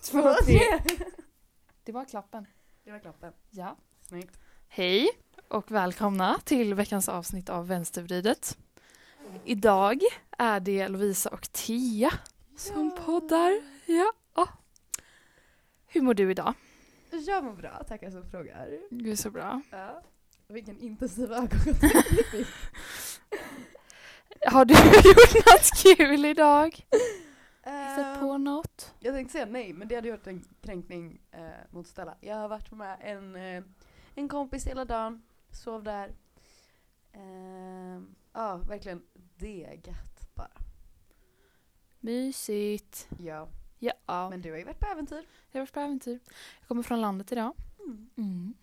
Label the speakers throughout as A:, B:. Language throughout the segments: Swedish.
A: två, tre. Det var klappen.
B: Det var klappen.
A: Ja.
B: Snyggt.
C: Hej och välkomna till veckans avsnitt av Vänstervridet. Idag är det Lovisa och Tia som poddar. Ja. ja. Hur mår du idag?
B: Jag mår bra, tackar som frågar.
C: Du är så bra.
B: Ja. Vilken intensiv ögonkontakt vi fick.
C: Har du gjort något kul idag? Sett
B: Ehm,
C: på något?
B: Jag tänkte säga nej, men det hade gjort en kränkning eh, mot Stella. Jag har varit med en, eh, en kompis hela dagen, sov där. Ehm, Ja, verkligen degat bara.
C: Mysigt.
B: Ja,
C: Ja.
B: men du har ju varit på äventyr.
C: Jag har varit på äventyr. Jag kommer från landet idag.
B: Mm.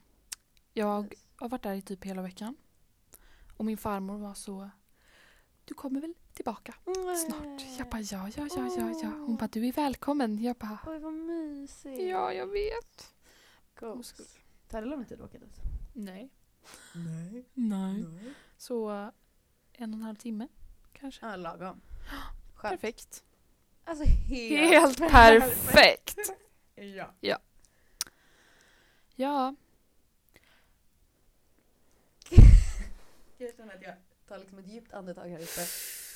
C: Jag har varit där i typ hela veckan. Och min farmor var så... Du kommer väl tillbaka
B: Mm.
C: snart? Jag bara ja, ja, ja, ja, ja. Hon bara du är välkommen. Jag bara
B: Oj, vad mysigt.
C: ja, jag vet.
B: Gos.
C: Hon skulle-
B: Tar det lång tid att åka dit?
C: Nej.
B: Nej.
C: Nej. Så en och en halv timme kanske.
B: Ja, lagom. Skönt.
C: Perfekt.
B: Alltså helt,
C: Helt perfekt.
B: Ja.
C: Ja,
B: Jag känner att jag tar liksom ett djupt andetag här uppe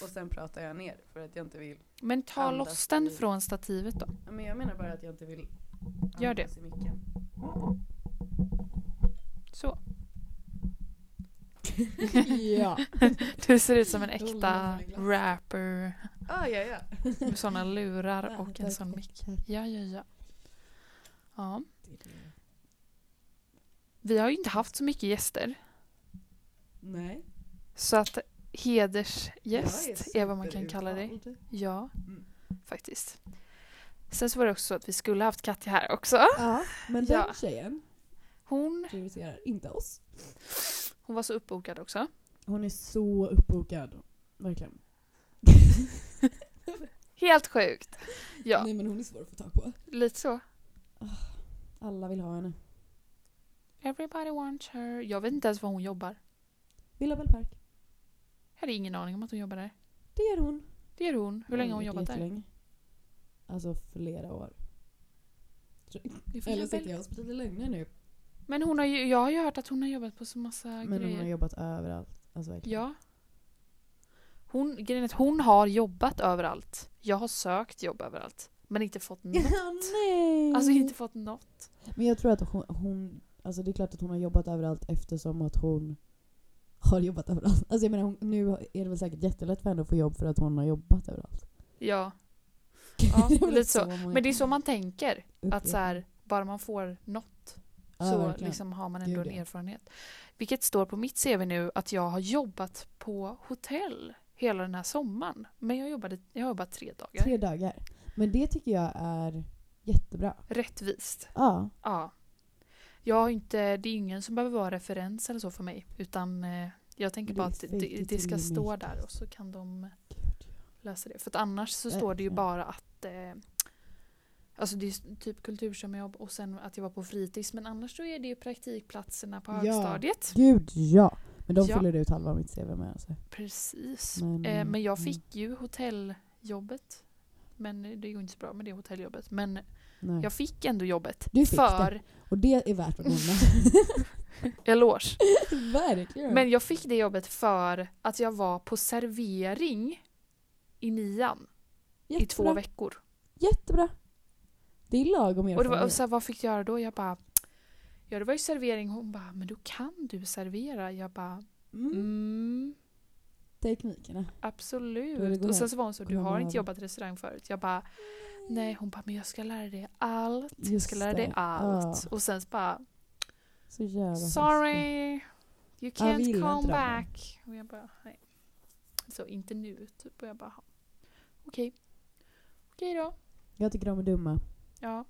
B: och sen pratar jag ner för att jag inte vill.
C: men ta
B: Andas
C: loss den
B: ut.
C: från stativet då.
B: Ja, Men jag menar bara att jag inte vill
C: Gör det.
B: andas i micken.
C: Så.
B: ja.
C: Du ser ut som en
B: Dolly
C: äkta
B: Dolly Glass.
C: rapper.
B: Ah, ja, ja.
C: Med sådana lurar och en sån mick.
D: Mm.
C: Ja, ja, ja. Ja. Vi har ju inte haft så mycket gäster.
B: Nej.
C: Så att
B: Jag
C: hedersgäst är vad man kan kalla dig.
B: superutvald.
C: Ja,
B: Mm.
C: faktiskt. Sen så var det också så att vi skulle haft Katja här också.
D: Ja, men
C: Ah. Ja.
D: den tjejen
C: Hon,
D: prioriterar inte oss.
C: hon var så uppbokad också.
D: Hon är så uppbokad. Verkligen.
C: Helt sjukt. Ja,
D: Nej men hon är svår att få tag på.
C: lite så.
D: Alla vill ha henne.
C: Everybody wants her. Jag vet inte ens var hon jobbar.
D: Villa Bell Park.
C: Jag hade ingen aning om att hon jobbar där.
D: Det är hon.
C: Det gör hon. Hur länge har hon jobbat där?
D: Jättelänge. Alltså flera år.
C: Vi får
D: Eller
C: jobba-
D: sitter jag och sprider lögner nu?
C: Men hon har ju, jag har ju hört att hon har jobbat på så massa
D: Men hon
C: grejer.
D: har jobbat överallt. Alltså verkligen.
C: Ja. Hon, grejen är att hon har jobbat överallt. Jag har sökt jobb överallt. Men inte fått något.
D: Ja, nej!
C: Alltså inte fått något.
D: Men jag tror att hon, hon... Alltså det är klart att hon har jobbat överallt eftersom att hon har jobbat överallt. Alltså jag menar hon, nu är det väl säkert jättelätt för henne att få jobb för att hon har jobbat överallt.
C: Ja.
D: Det är väl
C: lite så.
D: många
C: Men det är så man tänker. Att
D: upplevelser.
C: så här, bara man får något
D: Ja,
C: så
D: verkligen.
C: liksom har man ändå
D: Gud,
C: en
D: ja.
C: erfarenhet. Vilket står på mitt CV nu att jag har jobbat på hotell hela den här sommaren. Men jag, jobbade, jag har jobbat tre dagar.
D: Tre dagar. Men det tycker jag är jättebra.
C: Rättvist.
D: Ja.
C: Ja. Jag har inte, det är ingen som behöver vara referens eller så för mig. Utan eh, jag tänker
D: Du
C: bara att det,
D: fake
C: det,
D: it
C: det
D: till
C: ska
D: you
C: stå
D: make
C: där
D: it.
C: och så kan de
D: Gud, ja.
C: läsa det. För att annars så
D: Ja,
C: står det ju
D: ja.
C: bara att eh, Alltså det är s- typ kultursamjobb och sen att jag var på fritids. Men annars så är det ju praktikplatserna på
D: Ja.
C: högstadiet.
D: Gud ja. Men de
C: Ja.
D: fyller ut halva mitt CV med. Alltså.
C: Precis.
D: Men,
C: eh, men jag
D: mm.
C: fick ju hotelljobbet. Men det går inte så bra med det hotelljobbet. Men
D: Nej.
C: jag fick ändå jobbet.
D: Du fick
C: för
D: Och det är värt att nämna.
C: eloge.
D: Verkligen.
C: Men jag fick det jobbet för att jag var på servering i nian i
D: Jättebra.
C: två veckor.
D: Jättebra. Det är lagom erfarenhet.
C: Och, det var, och så här, vad fick jag göra då? Jag bara, ja det var ju servering. Hon bara, men då kan du servera. Jag bara,
D: mm.
C: mm,
D: Teknikerna. Då är det
C: absolut.
D: god
C: Och sen så var hon så,
D: god
C: du har
D: morgon.
C: inte jobbat i restaurang förut. Jag bara, nej. Hon bara, men jag ska lära dig allt. Jag
D: Just
C: ska lära dig
D: det.
C: allt.
D: Ja.
C: Och sen så bara,
D: Så jävla festligt.
C: sorry. You
D: Ja, vi
C: can't
D: gillar
C: come
D: inte dem.
C: back. Och jag bara, nej. Så inte nu, typ. Och jag bara, okej. Okej då.
D: Jag tycker de är dumma.
C: Ja,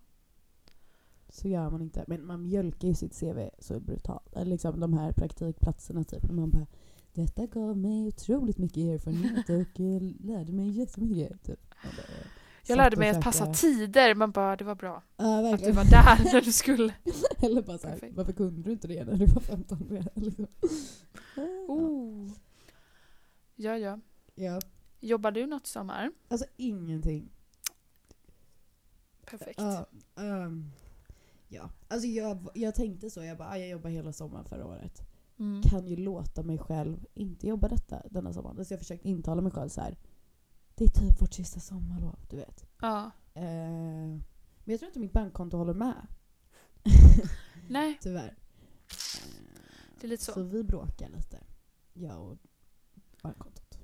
D: Så gör man inte. Men man mjölkar ju sitt CV så brutalt. Eller liksom de här praktikplatserna typ. Och man bara Detta gav mig otroligt mycket erfarenhet och eh, lärde mig jättemycket. Typ. Man bara, eh,
C: jag
D: satt
C: lärde
D: och
C: mig att passa
D: käkade-
C: tider. Man bara, det var bra
D: Ja,
C: att du
D: verkligen.
C: var där när du skulle.
D: Eller bara såhär,
C: Perfekt.
D: varför kunde du inte det när du var 15 år? Liksom.
C: Oh. Ja, ja.
D: Ja.
C: Jobbar du något sommar?
D: Alltså ingenting.
C: Perfekt.
D: Ja, ehm, ja. Alltså jag, jag tänkte så, jag bara, "Ah, jag jobbar hela sommaren förra året.
C: Mm.
D: Kan ju låta mig själv inte jobba detta denna sommaren. Så jag försökte intala mig själv så här. det är typ vårt sista sommarlov, du vet.
C: Ja.
D: Eh, men jag tror inte mitt bankkonto håller med,
C: Nej,
D: tyvärr.
C: det är lite så.
D: Så vi bråkar lite. Jag och bankkontot.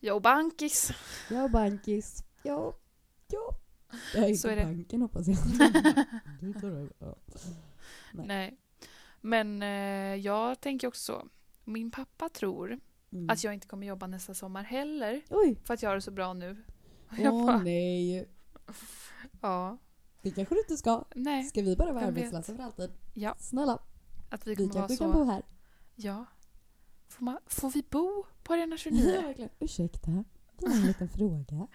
C: Jag och bankis.
D: Jag och bankis. Ja. Ja. Jag är
C: Så
D: inte
C: är det.
D: banken hoppas jag. Du tar över. Ja. Nej.
C: Nej. Men eh, jag tänker också så. Min pappa tror
D: Mm.
C: att jag inte kommer jobba nästa sommar heller.
D: Oj!
C: För att jag har det så bra nu. Och jag
D: Åh
C: bara,
D: nej.
C: ja.
D: Det kanske du inte ska.
C: Nej,
D: Ska vi bara vara
C: Vem vet?
D: arbetslösa för alltid?
C: Ja.
D: Snälla,
C: att vi
D: vi
C: kommer vara
D: kanske kan bo
C: så.
D: här.
C: Ja. Får, man, får vi bo på Arena
D: Ja,
C: 29?
D: verkligen. Ursäkta, det var en liten fråga.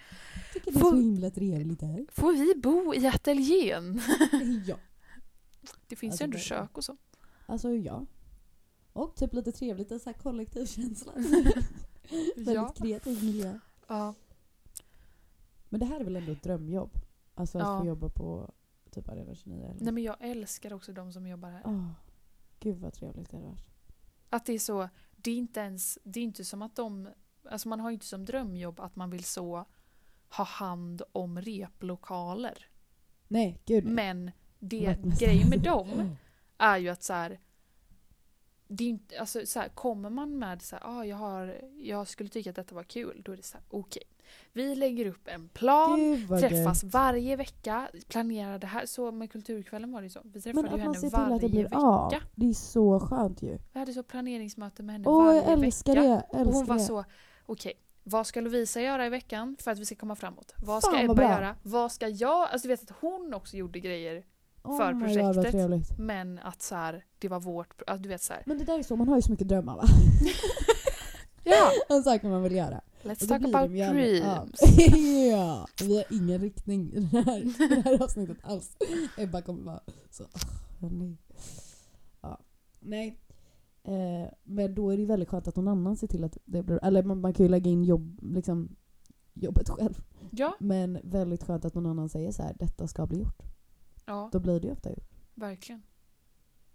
D: Tycker det är
C: Får-
D: så himla trevligt här.
C: Får vi bo i ateljén?
D: Ja.
C: Det finns
D: Alltså,
C: ju ändå
D: det-
C: kök och så.
D: Alltså ja. Och typ lite trevligt, en sån här kollektiv känsla.
C: Ja.
D: Väldigt kreativ miljö.
C: ja.
D: Men det här är väl ändå ett drömjobb? Alltså att
C: Ja.
D: få jobba på typ Arena 29 eller?
C: Nej men jag älskar också de som jobbar här.
D: Åh, gud vad trevligt det hade varit.
C: Att det är så, det är inte ens, det är inte som att de, alltså man har ju inte som drömjobb att man vill så ha hand om replokaler.
D: Nej, gud nej.
C: Men det
D: Vaktmästare.
C: grejen med dem är ju att så här, det är inte, alltså så här, kommer man med så här, ah, jag, har, jag skulle tycka att detta var kul, då är det så här, okej. Vi lägger upp en plan,
D: Gud vad
C: träffas
D: gött.
C: varje vecka, planerar det här. Så med kulturkvällen var det ju så. Vi
D: Men
C: träffade ju
D: att man
C: henne
D: ser till
C: varje
D: att det blir
C: vecka.
D: av. Det är så skönt ju.
C: Vi hade så planeringsmöte med henne
D: Åh,
C: varje
D: jag älskar
C: vecka.
D: det. Jag
C: Och hon
D: älskar
C: var
D: det.
C: så, okej, vad ska Lovisa göra i veckan för att vi ska komma framåt? Vad ska
D: Fan, vad
C: Ebba
D: bra.
C: göra? Vad ska jag? Alltså du vet att hon också gjorde grejer,
D: Åh,
C: för
D: my God, vad
C: projektet.
D: trevligt.
C: men att så här, det var vårt, alltså, du vet så här.
D: Men det där är så, man har ju så mycket drömmar va?
C: Ja,
D: En sak man vill göra.
C: let's
D: Och då
C: talk
D: blir de
C: about
D: ju aldrig av.
C: dreams.
D: ja, vi har ingen riktning i det här, i det här avsnittet alls. Ebba kommer bara så, "Åh, nej. Ja, nej. Eh, men då är det ju väldigt skönt att någon annan ser till att det blir, eller man, man kan ju lägga in jobb, liksom, jobbet själv.
C: Ja,
D: Men väldigt skönt att någon annan säger så här, detta ska bli gjort.
C: ja,
D: Då blir det ju ofta gjort.
C: verkligen.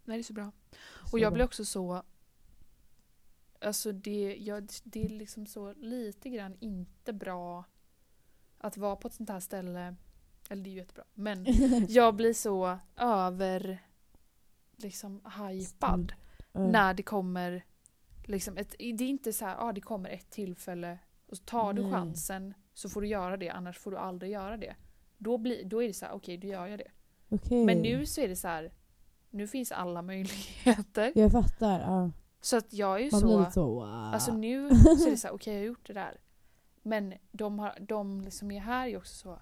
C: Nej, det är så bra.
D: Så
C: Och jag
D: bra.
C: blir också så... Alltså det, jag, det är liksom så lite grann inte bra att vara på ett sånt här ställe. Eller det är ju jättebra. Men jag blir så över... Liksom hypad.
D: Eh,
C: När det kommer... Liksom ett, det är inte så här, ah, det kommer ett tillfälle och så tar du
D: Nej.
C: chansen så får du göra det annars får du aldrig göra det. Då, blir, då är det så här, okej då gör jag det.
D: okej.
C: Men nu så är det så här, nu finns alla möjligheter.
D: Jag fattar. ja.
C: Så att jag är ju
D: man blir
C: så,
D: lite så wow.
C: alltså nu så är det så här, okej jag har gjort det där. Men de, har, de som är här är också så,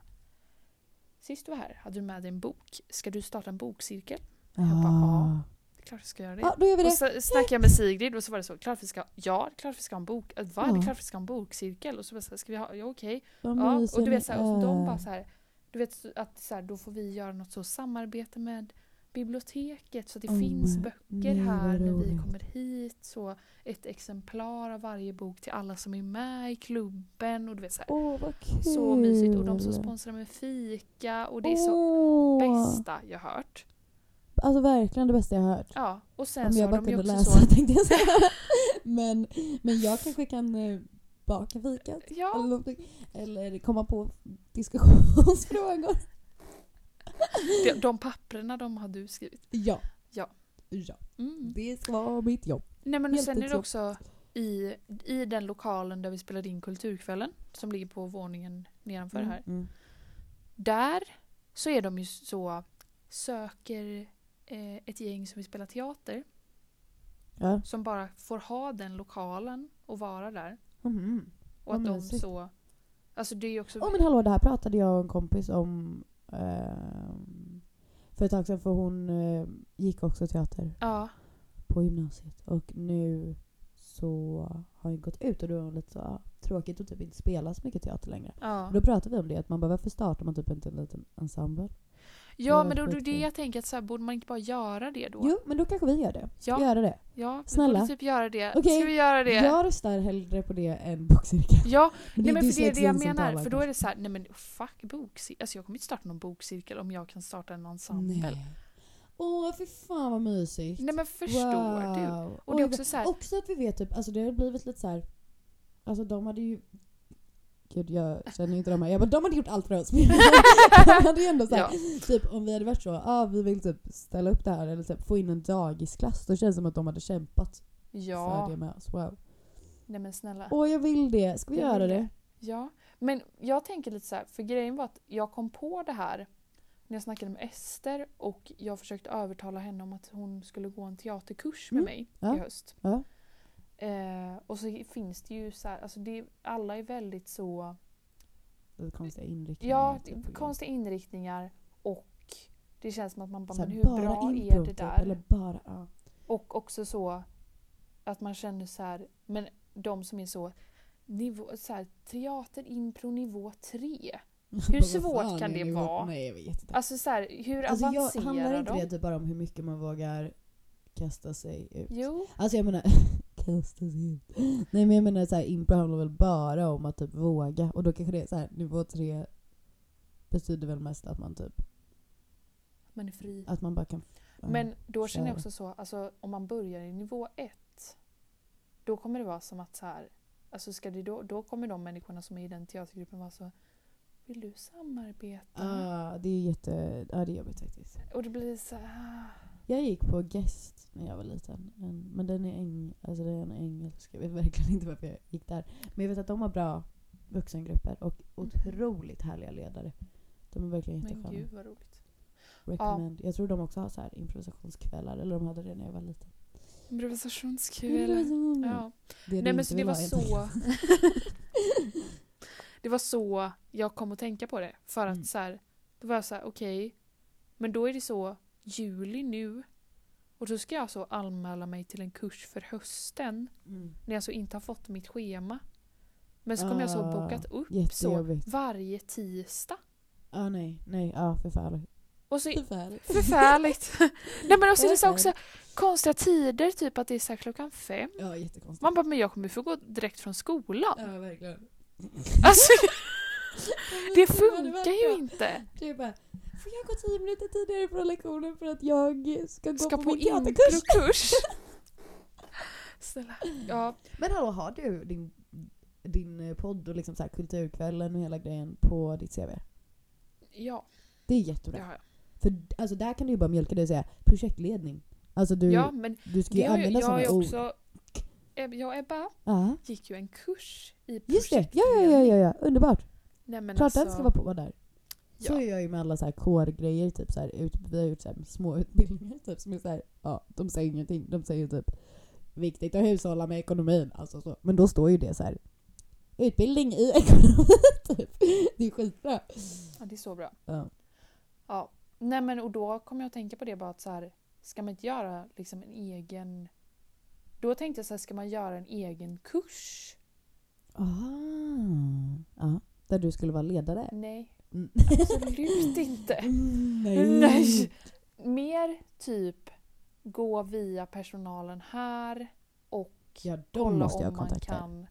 C: sist du var här hade du med dig en bok. Ska du starta en bokcirkel? jag bara, ja. Det är klart vi ska göra det.
D: Ja, då gör vi
C: och
D: det.
C: så snackade jag med Sigrid och så var det så, klart vi ska, ja det är klart vi ska ha en bok, äh, va? Det
D: Ja.
C: är klart vi ska ha en bokcirkel. Och så var det så här, ska vi ha, ja okej.
D: Vad
C: Ja,
D: mysig
C: och du
D: ni
C: vet så här, och så de
D: är.
C: bara så här, du vet så att så här, då får vi göra något så samarbete med biblioteket så att det
D: Oh
C: finns
D: my-
C: böcker
D: nej, vad
C: här när vi
D: roligt.
C: kommer hit. Så ett exemplar av varje bok till alla som är med i klubben och du vet så här.
D: Åh, vad kul.
C: Så mysigt och de som sponsrar med fika och det är så
D: Åh.
C: bästa jag hört.
D: Alltså verkligen det bästa jag har hört.
C: Ja, och sen
D: Om
C: så
D: jag
C: har
D: bara
C: de ju
D: kunde
C: också
D: läsa
C: så...
D: tänkte jag säga. men, men jag kanske kan eh, baka fikat.
C: Ja,
D: Eller, någonting. eller komma på diskussionsfrågor.
C: de, de papperna de har du skrivit.
D: Ja.
C: Ja.
D: ja.
C: Mm.
D: Det ska vara mitt jobb.
C: Nej men och
D: Helt
C: sen är det
D: otroligt.
C: också i, i den lokalen där vi spelade in Kulturkvällen som ligger på våningen nedanför här.
D: Mm.
C: Där så är de ju så söker eh, ett gäng som vill spela teater
D: Ja.
C: som bara får ha den lokalen och vara där.
D: Mhm.
C: Och att
D: Vad
C: de
D: mysigt.
C: så... Alltså det är ju också...
D: Åh men hallå, det här pratade jag och en kompis om ehm, för ett tag sedan för hon eh, gick också teater
C: Ja,
D: på gymnasiet och nu så har hon gått ut och då är hon lite så ah, tråkigt och typ inte spelar så mycket teater längre.
C: ja.
D: Då pratade vi om det, att man bara varför startar man typ inte en liten ensemble?
C: Ja,
D: var
C: men då det är det
D: skitkul.
C: jag tänker att så här, borde man inte bara göra det då?
D: Jo, men då kanske vi gör det.
C: Ja.
D: Vi gör det.
C: Ja, vi
D: Snälla.
C: borde typ göra det.
D: Okej,
C: Ska vi göra det?
D: Jag röstar hellre på det än bokcirkeln.
C: Ja,
D: Men
C: nej, men för det är det jag
D: dyslexin som
C: menar. För
D: påverkar.
C: då är det så här, nej men fuck bokcirkel. Alltså jag kommer inte starta någon bokcirkel om jag kan starta en ensemble. Nej,
D: Nej. Åh, fy fan vad mysigt.
C: men förstår du?
D: Wow.
C: Och det är
D: Oj,
C: också så här,
D: Också att vi vet typ, alltså det har blivit lite så här. Alltså de hade ju... Gud jag känner inte de här. Jag bara, de hade gjort allt för oss. Men de hade ju ändå så här,
C: ja,
D: typ om vi hade varit så, ah, vi vill typ ställa upp det här eller typ få in en dagisklass. Då känns det som att de hade kämpat för
C: ja.
D: det med oss. Wow.
C: Nej men snälla.
D: Åh jag vill det, ska vi
C: Jag
D: göra
C: vill
D: det?
C: Ja, men jag tänker lite så här, för grejen var att jag kom på det här när jag snackade med Ester och jag försökte övertala henne om att hon skulle gå en teaterkurs med
D: Mm,
C: mig
D: ja,
C: i höst.
D: ja.
C: Eh, och så finns det ju så här, alltså det, alla är väldigt så,
D: det? Konstiga inriktningar.
C: ja,
D: typ, och
C: konstiga inriktningar och det känns som att man bara,
D: Så här,
C: men hur bra är det
D: typ,
C: där?
D: Eller bara, ja.
C: Och också så att man känner så här, men de som är så, nivå, så här teater impro nivå 3. Hur
D: Vad
C: svårt
D: fan
C: kan
D: är
C: det
D: nu?
C: vara?
D: Nej jag vet inte.
C: Alltså så här, hur
D: Alltså, jag, handlar
C: avancerar
D: inte
C: de?
D: det typ bara om hur mycket man vågar kasta sig ut?
C: Jo,
D: Alltså jag menar, kasta sig ut. Nej men jag menar såhär, impro handlar väl bara om att typ våga. Och då kanske det är såhär, nivå tre betyder väl mest att man typ,
C: man är fri.
D: att man bara kan... ja.
C: Men då känner jag
D: kör.
C: också så, alltså om man börjar i nivå 1, då kommer det vara som att så här, alltså ska det då, då kommer de människorna som är i den teatergruppen vara så, vill du samarbeta?
D: Ah, det är jätte, ja det är jobbigt faktiskt.
C: Och det blir så här, ah.
D: Jag gick på Gest när jag var liten. En- Men den är, eng, alltså den är en engelsk. Jag vet verkligen inte varför jag gick där. Men jag vet att de har bra vuxengrupper och otroligt härliga ledare. De är verkligen
C: Mm. men
D: jättesköna.
C: gud vad roligt.
D: Recommend. Jag tror de också har så här improvisationskvällar. Eller de hade det när jag var liten. Mm.
C: Improvisationskväll. Ja.
D: Det
C: Nej
D: du
C: men
D: inte
C: så det
D: vill
C: var
D: ha, helt enkelt.
C: så... det var så jag kom att tänka på det. För att
D: Mm.
C: så här, då var jag så här, okej. men då är det så, juli nu. Och så ska jag alltså anmäla mig till en kurs för hösten.
D: Mm.
C: När jag så inte har fått mitt schema. Men så kommer jag så
D: Ah,
C: bokat upp så
D: Jättejobbigt.
C: varje tisdag.
D: Ah, nej, nej, ah, förfärligt.
C: Och så
D: Förfärligt.
C: Förfärligt! Nej men också, det är så här också konstiga tider, typ att det är så här klockan fem.
D: Ja, jättekonstigt.
C: Man bara, men jag kommer få gå direkt från skolan.
D: Ja, verkligen.
C: Alltså, det
D: Hur hade varit
C: funkar ju
D: då?
C: inte.
D: Du bara, får jag gå tio minuter tidigare från lektionen för att jag ska gå
C: Ska
D: på,
C: på
D: min teaterkurs?
C: improkurs. Snälla. Ja,
D: Men hallå, har du din, din eh, podd och liksom så här kulturkvällen och hela grejen på ditt CV?
C: ja,
D: Det är
C: det
D: jättebra.
C: har jag.
D: För alltså, där kan du ju bara mjölka det och säga projektledning. Alltså du,
C: Ja, men
D: du ska
C: det
D: ju
C: har jag,
D: använda
C: jag har ju
D: sådana ord.
C: också... Eb- Jag och Ebba
D: Ja,
C: gick ju en kurs i
D: just det. Ja, ja, ja, ja, ja. underbart.
C: Nej, men
D: Klart
C: alltså,
D: den ska vara på vara där. Så
C: Ja.
D: är jag ju med alla så här kårgrejer. Typ så här, ut, vi har gjort så här, små utbildningar typ, som är så här, ja, de säger ingenting. De säger typ viktigt att hushålla med ekonomin. Alltså, så. Men då står ju det så här utbildning i ekonomi. Typ. Det är skitbra.
C: Ja, det är så bra.
D: Ja.
C: Ja. Nej, men och då kom jag att tänka på det bara att så här, ska man inte göra liksom en egen... Då tänkte jag så här, ska man göra en egen kurs?
D: Ah. Ja, där du skulle vara ledare.
C: Nej,
D: Mm.
C: absolut inte.
D: Mm,
C: Nej. Mer typ gå via personalen här och
D: Ja, de
C: kolla
D: måste jag
C: om man
D: kontakta.
C: kan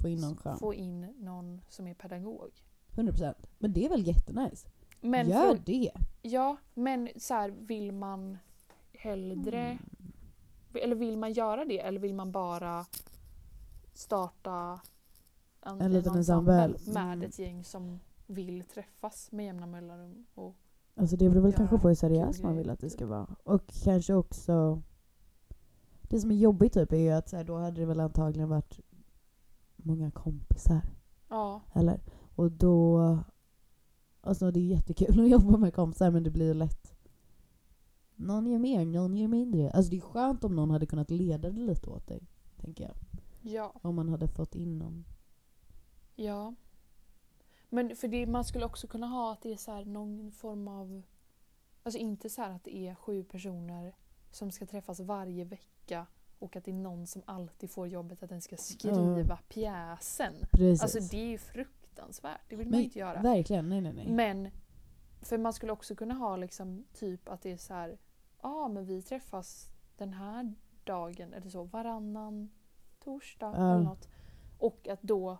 D: Få in någon skön.
C: få in någon som är pedagog.
D: 100%. Men det är väl jättenice?
C: Men
D: Gör
C: för,
D: det.
C: ja, men så här, vill man hellre...
D: Mm.
C: Eller vill man göra det eller vill man bara starta en,
D: En liten ensemble.
C: med
D: Mm.
C: ett gäng som vill träffas med jämna mellanrum? Och,
D: Alltså det beror väl
C: Ja,
D: kanske på hur seriös
C: kul
D: man
C: grej,
D: vill att det
C: typ.
D: ska vara. Och kanske också... Det som är jobbigt typ är ju att så här, då hade det väl antagligen varit många kompisar.
C: ja,
D: Eller? Och då... Alltså det är jättekul att jobba med kompisar men det blir ju lätt... Någon gör mer, någon gör mindre. Alltså det är skönt om någon hade kunnat leda det lite åt dig. Tänker jag.
C: ja,
D: Om man hade fått in någon.
C: ja. Men för det, man skulle också kunna ha att det är så här någon form av... Alltså inte så här att det är sju personer som ska träffas varje vecka och att det är någon som alltid får jobbet att den ska skriva pjäsen.
D: Precis.
C: Alltså det är ju fruktansvärt. Det vill man
D: Men
C: ju inte göra.
D: Verkligen, nej nej nej.
C: Men För man skulle också kunna ha liksom typ att det är så här, ja ah, men vi träffas den här dagen eller så varannan torsdag
D: Ja.
C: eller något. Och att då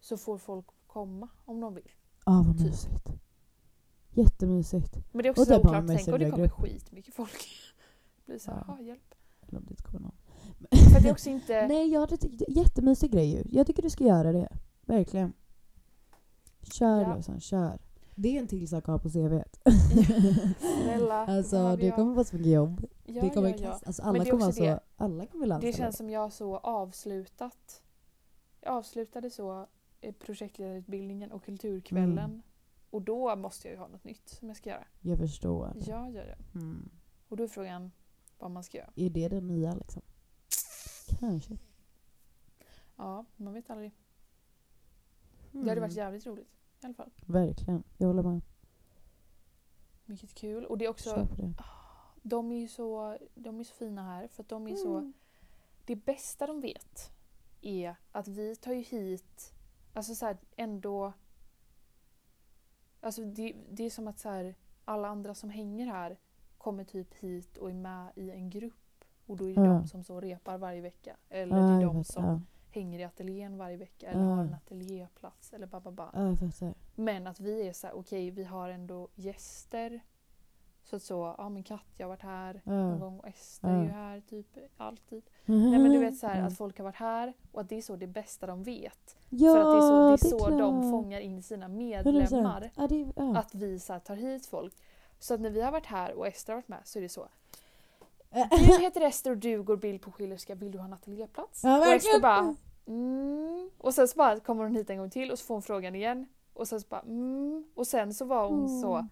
C: så får folk komma om de vill.
D: ah, vad
C: Typ.
D: mysigt. Jättemysigt.
C: Men det är också
D: Och
C: så
D: där bara
C: oklart,
D: med
C: tänk
D: sin
C: om det
D: röda
C: kommer
D: grupp.
C: skitmycket folk. blir så här,
D: Ja.
C: ja. hjälp.
D: Eller om det inte kommer någon.
C: För det är också inte...
D: Nej, jag det är jättemysig grej ju. Jag tycker du ska göra det. Verkligen. Kör
C: Ja.
D: Lovsan, kör. Det är en till sak att ha på CVt.
C: Snälla,
D: Alltså
C: behöver
D: det
C: jag-
D: kommer vara så mycket jobb.
C: ja,
D: det kommer
C: ja, ja.
D: kast- alltså,
C: Men
D: alla
C: det är
D: kommer vara
C: också
D: så,
C: det.
D: alla kommer lansa.
C: Det känns som jag så avslutat. Jag avslutade så eh, projektledarutbildningen och kulturkvällen.
D: Mm.
C: Och då måste jag ju ha något nytt som jag ska göra.
D: Jag förstår.
C: Ja, ja, ja.
D: Mm.
C: Och då är frågan vad man ska göra.
D: Är det den nya liksom? Kanske.
C: Ja, man vet aldrig. Det
D: Mm.
C: hade varit jävligt roligt i alla fall.
D: Verkligen. Jag håller med.
C: Mycket kul. Och det är också,
D: Kör på det.
C: de är ju så, de är så fina här för att de är
D: Mm.
C: så... Det bästa de vet är att vi tar ju hit, alltså så här, ändå... Alltså det, det är som att så här, alla andra som hänger här kommer typ hit och är med i en grupp. Och då är det
D: Ja.
C: de som så repar varje vecka. Eller
D: Ja,
C: det är
D: jag
C: de
D: fattar.
C: som hänger i ateljén varje vecka eller
D: Ja.
C: har en ateljéplats eller ba, ba, ba.
D: Ja, jag fattar.
C: Men att vi är så här, okej vi har ändå gäster. Så att så, ja men Katja har varit här någon
D: Ja.
C: gång och Ester är ju
D: Ja. Mm.
C: här typ alltid. Nej men du vet så här att folk har varit här och att det är så det bästa de vet.
D: ja,
C: För att det är så, det är så
D: klart.
C: de fångar in sina
D: 100%.
C: medlemmar.
D: Ja, det är, ja.
C: Att vi så här, tar hit folk. Så att när vi har varit här och Ester har varit med så är det så.
D: Ja.
C: Du heter Ester och du går bild på Schillerska, vill du ha en ateljéplats?
D: Ja,
C: och Ester
D: verkligen.
C: bara mm. Och sen så bara kommer hon hit en gång till och så får hon frågan igen. Och sen så bara mm. Och sen så var hon
D: Mm.
C: så.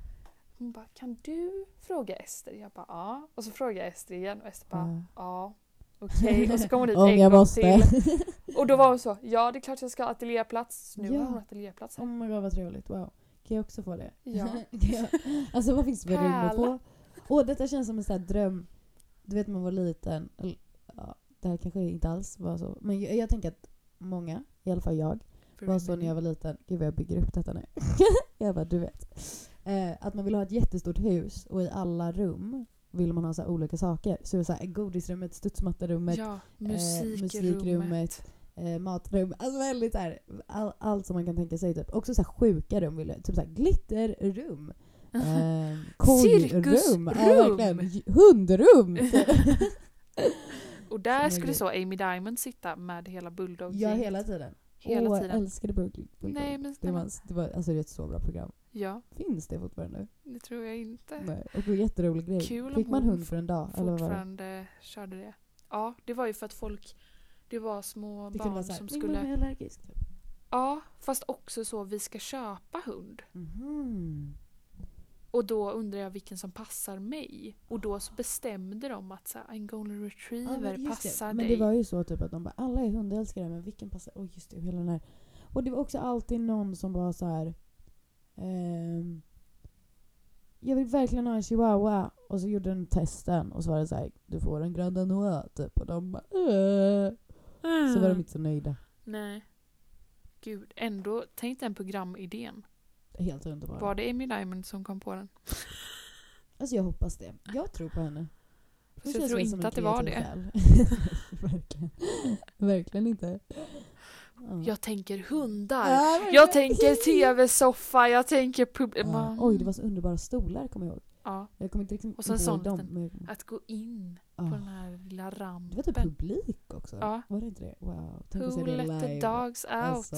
C: Hon bara kan du fråga Ester? Jag bara ja. Och så frågar jag Ester igen och Ester bara
D: Ja.
C: ja. Okej. Och så kom hon dit
D: Om
C: en
D: jag
C: gång
D: Mm. måste.
C: till. Och då var hon så ja det är klart jag ska ha ateljéplats. Nu
D: Ja.
C: har hon ateljéplats
D: Oh
C: här.
D: my god vad trevligt, wow. Kan jag också få det?
C: Ja.
D: Kan jag- alltså vad finns det för rum att
C: Pärla.
D: få? Åh, detta känns som en sån här dröm. Du vet man var liten. Eller, ja, det här kanske inte alls var så. Men jag, jag tänker att många, i alla fall jag, var så när jag var liten. Gud vad jag bygger upp detta nu. jag bara, du vet. Eh, att man vill ha ett jättestort hus och i alla rum vill man ha så här olika saker. Så det är så här, godisrummet, studsmattarummet,
E: ja,
D: eh, musikrummet. eh, matrum. Alltså väldigt såhär, all, allt som man kan tänka sig typ. Också såhär sjuka rum vill jag, typ såhär glitterrum. Eh, kojrum. Ja,
E: Cirkusrum.
D: verkligen. J- Hundrum.
E: Och där
D: Som är
E: skulle
D: grej.
E: så Amy Diamond sitta med hela bulldog
D: ja, hela tiden.
E: Hela
D: Åh,
E: tiden.
D: jag älskade Bulldog.
E: Nej men
D: det,
E: snälla.
D: var, det var alltså det är ett så bra program.
E: Ja,
D: Finns det fortfarande?
E: det tror jag inte.
D: Nej. Och en jätterolig grej.
E: Eh. Kul om
D: Fick man
E: hon
D: hund för en dag? Eller vad var det?
E: Fortfarande körde det. Ja, det var ju för att folk... Det var små
D: Det kunde
E: barn
D: vara såhär,
E: som
D: min
E: skulle...
D: mamma är allergisk. Typ.
E: Ja, fast också så vi ska köpa hund.
D: Mhm.
E: Och då undrar jag vilken som passar mig. Och då så bestämde de att så här, en golden
D: Ja, men
E: retriever
D: just
E: passar
D: det.
E: dig.
D: Men det var ju så typ att de bara alla är hundälskare men vilken passar? Åh just det, och hela den här. Och det var också alltid någon som var så här. ehm, jag vill verkligen ha en chihuahua. Och så gjorde den testen och så var det så här, du får en grand danois typ. Och de bara äh. Så
E: Mm.
D: var de inte så nöjda.
E: Nej. Gud, ändå. Tänk den programidén.
D: Helt underbara.
E: Var det Amy Diamond som kom på den?
D: Alltså jag hoppas det. Jag tror på henne. Hon
E: Fast jag
D: känns
E: tror
D: väl som
E: inte
D: en
E: att det var
D: kreativ
E: det.
D: själ. verkligen. verkligen inte. Ja.
E: Jag tänker hundar.
D: Ja,
E: Jag
D: verkligen.
E: tänker tv-soffa, jag tänker pub...
D: Ja.
E: Man-
D: Ah. Oj, det var så underbara stolar kommer jag ihåg.
E: Ja,
D: Jag kommer inte liksom
E: Och så en
D: ihåg
E: sån
D: dem.
E: liten-
D: Men jag kommer-
E: att gå in på
D: Ah.
E: den här lilla rampen.
D: Det var typ publik också.
E: Ja.
D: Var det inte det? Wow. Tänk att se
E: Who
D: det
E: let
D: live.
E: the dogs out?
D: Alltså,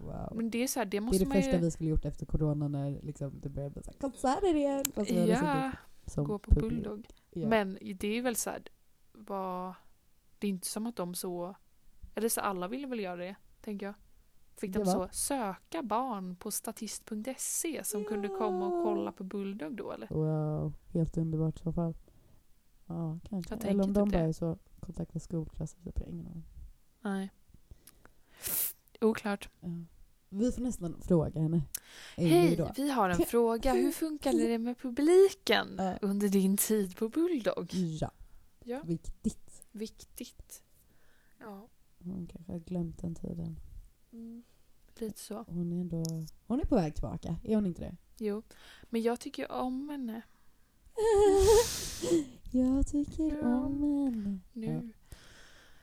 D: wow.
E: Men det är så här, det
D: det är
E: måste
D: det
E: man ju...
D: första vi skulle gjort efter corona när liksom det började bli så här, konserter igen. Alltså, Fast vi hade
E: ja,
D: suttit liksom typ som
E: gå på
D: publik.
E: Bulldog.
D: Ja.
E: Men det är väl så här, vad... Det är inte som att de så... Eller så alla ville väl göra det, tänker jag. Fick de
D: Det var-
E: så söka barn på statist.se E som kunde
D: Ja.
E: komma och kolla på Bulldog då eller?
D: Wow, helt underbart i så fall. Ja, kanske.
E: Jag tänker
D: Eller om de
E: typ
D: bara
E: det.
D: är så kontakta skolklasser. Typ. Jag har Ingen aning.
E: Nej. Oklart.
D: Ja. Vi får nästan fråga henne. Är vi
E: Hej,
D: då?
E: vi har en fråga. Hur funkade det med publiken
D: Ja.
E: under din tid på Bulldog?
D: Ja.
E: Ja.
D: Viktigt.
E: Viktigt. Ja,
D: Hon kanske har glömt den tiden.
E: lite så.
D: Hon är ändå... Hon är på väg tillbaka, är hon inte det?
E: Jo. Men jag tycker ju om henne
D: Jag tycker om henne.
C: nu.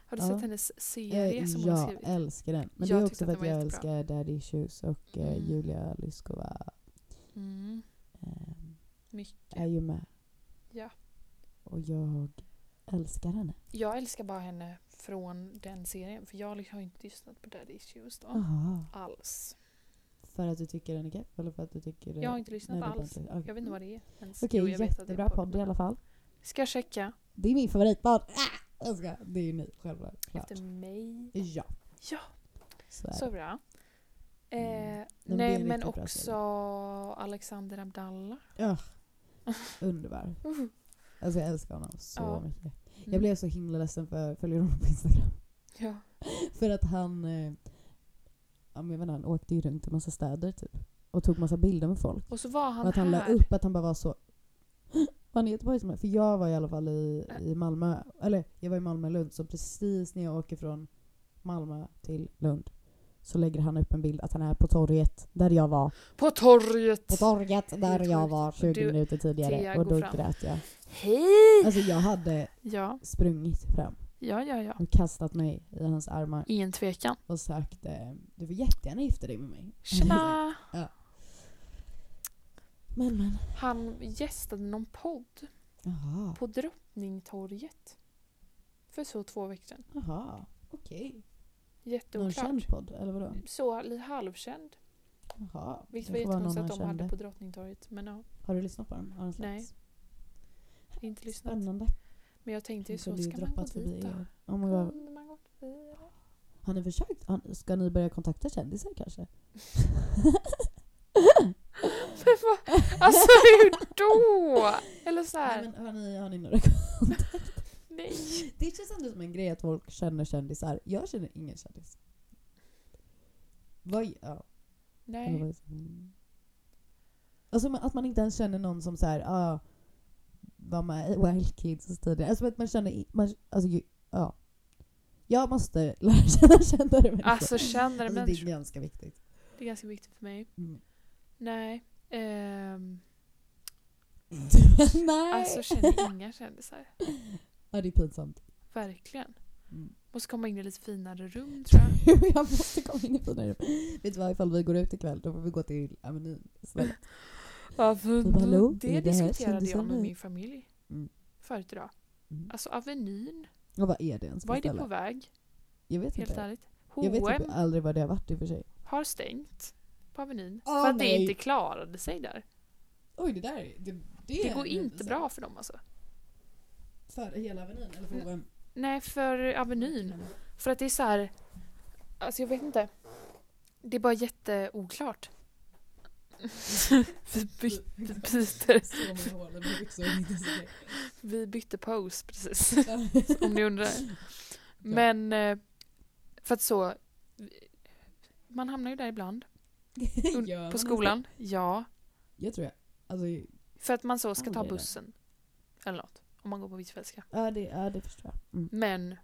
C: Har du
D: Ja.
C: sett hennes serie som
D: Eh,
C: hon har
D: jag
C: skrivit?
D: älskar den. Men
C: Jag
D: det är
C: tyckte
D: också för
C: att
D: att
C: den
D: jag
C: var jättebra.
D: älskar Daddy Issues och eh,
C: Mm.
D: Julia Lyskova
C: Mm,
D: eh,
C: mycket.
D: är ju med.
C: Ja.
D: Och jag älskar henne.
C: Jag älskar bara henne från den serien för jag liksom har ju inte lyssnat på Daddy Issues då.
D: Aha.
C: Alls.
D: För att du tycker den är gay? Eller för att du tycker...
C: Jag har inte lyssnat
D: det är
C: alls.
D: inte- okej.
C: Jag vet inte vad det är. ens.
D: Okej,
C: Jo, jag vet att det är
D: jättebra podd i alla fall.
C: Ska jag checka
D: Det är min favoritpodd. Ah! Jag ska, det är ju ni själva, klart.
C: efter mig?
D: Ja.
C: Ja.
D: Så är
C: Så
D: det.
C: bra. Eh,
D: Mm. Men det är
C: nej
D: en
C: men
D: riktigt bra
C: också Alexander Abdallah.
D: Underbar. Alltså jag älskar honom så
C: Mm. Ja.
D: mycket.
C: Mm.
D: Jag blev så himla ledsen för jag följer honom på Instagram.
C: Ja.
D: För att han... Eh, ja, men jag vet inte, han åkte ju runt i massa städer typ. Och tog massa bilder med folk.
C: Och så var han,
D: och att han la
C: här.
D: upp att han bara var så... Var han i Göteborg som är? För jag var i alla fall i, i Malmö. Eller jag var i Malmö och Lund. Så precis när jag åker från Malmö till Lund så lägger han upp en bild att han är på torget där jag var.
C: På torget!
D: På torget där jag var 20
C: Du,
D: minuter tidigare.
C: Thea,
D: Och
C: gå
D: då
C: fram.
D: grät jag.
C: Hej!
D: Alltså jag hade
E: Ja,
D: sprungit fram
E: ja, ja, ja.
D: och kastat mig i hans armar
E: Ingen tvekan.
D: och sagt eh, du får jättegärna gifta dig med mig.
E: Tjena!
D: men men.
C: Han gästade någon podd
D: Jaha.
C: på Drottningtorget. För så två veckor sedan.
D: Jaha. Okej. Någon
C: Jätteoklart.
D: känd podd eller vadå?
C: Så li- halvkänd.
D: Jaha.
C: Vilket
D: det
C: var
D: får vara någon
C: jättekonstigt att de
D: han
C: hade
D: kände.
C: på Drottningtorget. Men ja,
D: Har du lyssnat på den? Har den
C: Nej,
D: släppts?
C: inte lyssnat.
D: Spännande.
C: Men jag tänkte ju
D: Den
C: så,
D: kunde ju
C: ska man gå
D: droppat förbi
C: dit då?
D: er. Oh my God.
C: Kunde man gå förbi? eller?
D: Har ni försökt? Har- Ska ni börja kontakta kändisar kanske?
C: Alltså hur då? Eller så
D: Nej,
C: här.
D: men har, ni, har ni några
C: nej.
D: Det känns ändå som en grej att folk känner kändisar. Jag känner ingen kändis. Vad, ja. Eller
C: Nej.
D: vad- mm. Alltså man- att man inte ens känner någon som så här, ah, var med i Wild Kids tidigare. Alltså att man känner, i- man, alltså ju- ja. Jag måste lära känna kändare människor.
C: Alltså kändare
D: Alltså, det är
C: människor.
D: ganska viktigt.
C: Det är ganska viktigt för mig.
D: Mm.
C: Nej. ehm,
D: Nej!
C: alltså känner inga kändisar.
D: ja, det är pinsamt.
C: Verkligen.
D: Mm.
C: Måste komma in i lite finare rum tror jag.
D: jag måste komma in i fina rum. Vet du vad, ifall vi går ut ikväll då får vi gå till Amenyn istället.
C: Avenyn.
D: bara, hallå, är
C: det
D: det här
C: diskuterade jag med
D: kändisarna?
C: min familj
D: Mm.
C: förut idag.
D: Mm.
C: Alltså Avenyn,
D: Och vad är det ens för
C: vad är det
D: ställe?
C: på väg?
D: Jag vet
C: Helt
D: inte.
C: ärligt.
D: Jag vet
C: H&M
D: typ aldrig vad det har varit i och för sig.
C: har stängt på Avenyn.
D: Åh,
C: för att det
D: nej.
C: inte klarade sig där.
D: Oj, det där det,
C: Det går inte bra för dem alltså.
D: För hela Avenyn eller
C: för
D: vem?
C: Nej, för Avenyn. För att det är så här... Alltså jag vet inte. Det är bara jätteoklart. vi, by- vi, byter,
D: Så många hål liksom i byxor.
C: vi bytte pose precis. Om ni undrar. Men eh, för att så... Man hamnar ju där ibland. Un- på skolan. Ja.
D: Jag tror jag. Alltså,
C: För att man så ska ta
D: Aldrig det.
C: bussen. Eller något. Om man går på Hvitfeldtska.
D: ja, det, ja, det förstår jag. Mm.
C: Men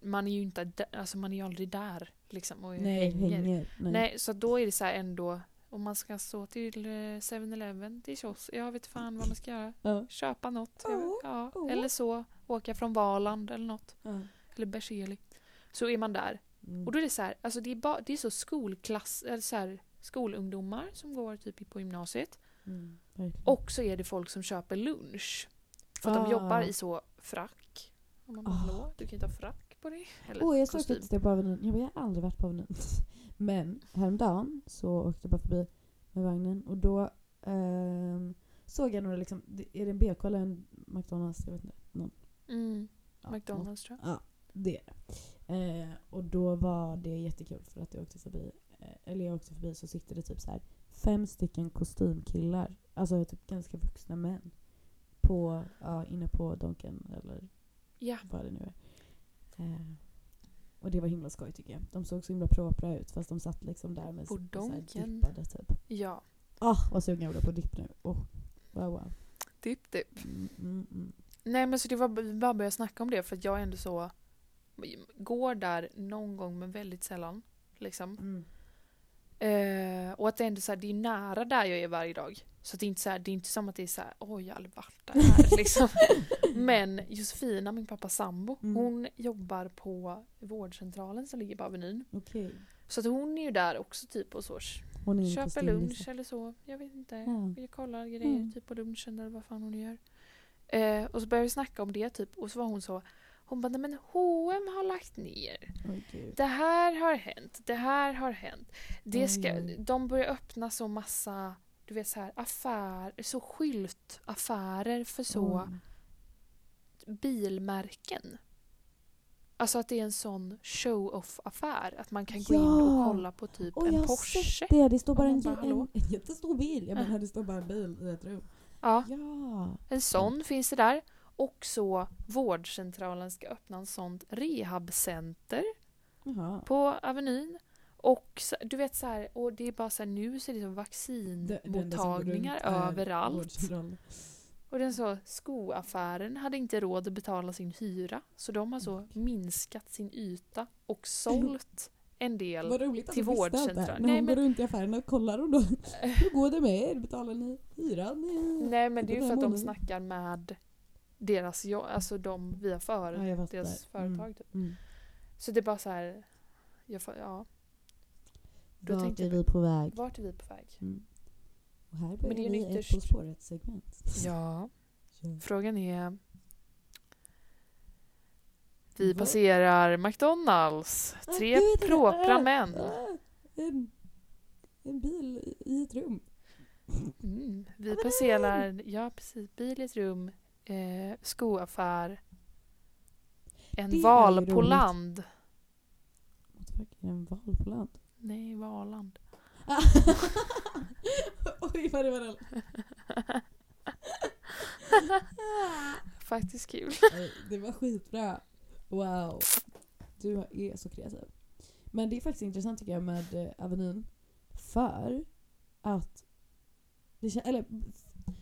C: man är ju inte där, alltså man är ju aldrig där. Liksom, och
D: Nej, hänger. Nej.
C: Nej, så då är det så här ändå. Om man ska så till eh, 7-Eleven, till kiosk. Jag vet fan vad man ska göra.
D: Ja.
C: Köpa något. jag
D: Oh,
C: vet- ja.
D: åh.
C: Eller så. Åka från Valand eller något.
D: Ja.
C: Eller Berzelii. Så är man där.
D: Mm.
C: Och då är det så här, alltså det är, bara, det är så skolklass, eller så här, skolungdomar som går typ på gymnasiet.
D: Mm, verkligen.
C: Och så är det folk som köper lunch. För att de
D: Ah.
C: jobbar i så frack. Och man bara,
D: Ah.
C: hallå, du kan inte ha frack på dig. Eller
D: Åh, jag såg
C: kostym.
D: faktiskt det på Avenyn. Jag, bara, jag har aldrig varit på Avenyn. Men häromdagen så åkte jag bara förbi med vagnen och då ehm, såg jag några liksom, det- är det en BK eller en McDonalds? Jag vet inte. Någon,
C: Mm,
D: ja, något.
C: McDonalds tror jag.
D: Det är det. Eh, och då var det jättekul för att jag åkte förbi, eh, eller jag åkte förbi så sitter det typ så här fem stycken kostymkillar, alltså typ ganska vuxna män. På, ja, inne på Donken eller
C: Ja.
D: vad det nu är. Eh, och det var himla skoj tycker jag. De såg så himla propra ut fast de satt liksom där med
C: På
D: så- så här
C: Donken.
D: dippade typ.
C: Ja.
D: Ah, vad sugen jag blev på dipp nu. Oh, wow wow.
C: Dipp, dipp.
D: Mm, mm, mm.
C: Typ, Nej men så det var vi bara började snacka om det för att jag är ändå så går där någon gång men väldigt sällan. Liksom.
D: Mm.
C: Eh, och att det ändå så här, det är nära där jag är varje dag. Så att det är inte så här, det är inte som att det är så här, oj jag har aldrig varit där. här", liksom. Men Josefina, min pappas sambo,
D: Mm.
C: hon jobbar på vårdcentralen som ligger på Avenyn.
D: Okej.
C: Så att hon är ju där också typ på så
D: Hon är en
C: köper
D: kostymlisa.
C: lunch eller så. Jag vet inte.
D: liksom. Ja.
C: Vi kollar grejer
D: Mm.
C: typ på lunchen eller vad fan hon gör. Eh, och så började vi snacka om det typ och så var hon så hon bara, nej men H&M har lagt ner.
D: Oj, gud.
C: Det här har hänt. Det här har hänt. Det ska,
D: Oj.
C: de börjar öppna så massa, du vet så här, affärer, så skyltaffärer för så
D: Oj.
C: bilmärken. Alltså att det är en sån show-off-affär. Att man kan gå in och
D: Ja.
C: kolla på typ
D: Oj, jag
C: en
D: har
C: Porsche.
D: sett det. Det står
C: Och
D: bara
C: man
D: en,
C: bara,
D: en,
C: hallå?
D: en jättestor bil. Jag
C: Ja.
D: menar det står bara en bil i ett rum.
C: Ja.
D: Ja.
C: En sån finns det där. Och så vårdcentralen ska öppna en sånt rehabcenter
D: Jaha.
C: på Avenyn. Och så, du vet så här, och det är bara så här, nu så är det så
D: Det- det enda som går
C: vaccinmottagningar
D: runt är
C: överallt.
D: vårdcentralen.
C: Och den så skoaffären hade inte råd att betala sin hyra så de har
D: Mm.
C: så minskat sin yta och sålt en del.
D: Vad roligt att
C: till
D: du visste allt det här.
C: vårdcentralen.
D: När
C: Nej,
D: hon
C: men-
D: går runt i affärerna och kollar och då. Hur går det med er? Betalar ni hyran?
C: Nej men det är ju för att de
D: Månaden.
C: snackar med deras, jo- alltså de via
D: Ja,
C: för,
D: jag var
C: deras
D: där. Mm.
C: företag. Typ.
D: Mm.
C: Så det är bara så här, jag, får- ja, Då
D: Vart
C: tänkte
D: är
C: vi-
D: vi på väg?
C: vart är vi på väg?
D: Mm. Och här
C: Men det är
D: börjar
C: ju
D: vi ett
C: ytterst-
D: På spåret-segment.
C: Ja,
D: Ja.
C: frågan är... Vi
D: Vad?
C: passerar McDonalds.
D: Ah,
C: Tre
D: gud, det-
C: propra
D: ah,
C: män.
D: ah, En, en bil i- i ett rum.
C: Mm. Vi passerar, ja precis, bil i ett rum, eh, skoaffär,
D: Det är
C: en
D: ju
C: val på
D: roligt.
C: land.
D: What the fuck, är det en val på land?
C: Nej, Valand.
D: Ah. Oj vad det var roligt.
C: Faktiskt kul.
D: Nej, Det var skitbra. Wow. Du är så kreativ. Men det är faktiskt intressant tycker jag med eh, Avenyn. För att... Det kän- eller,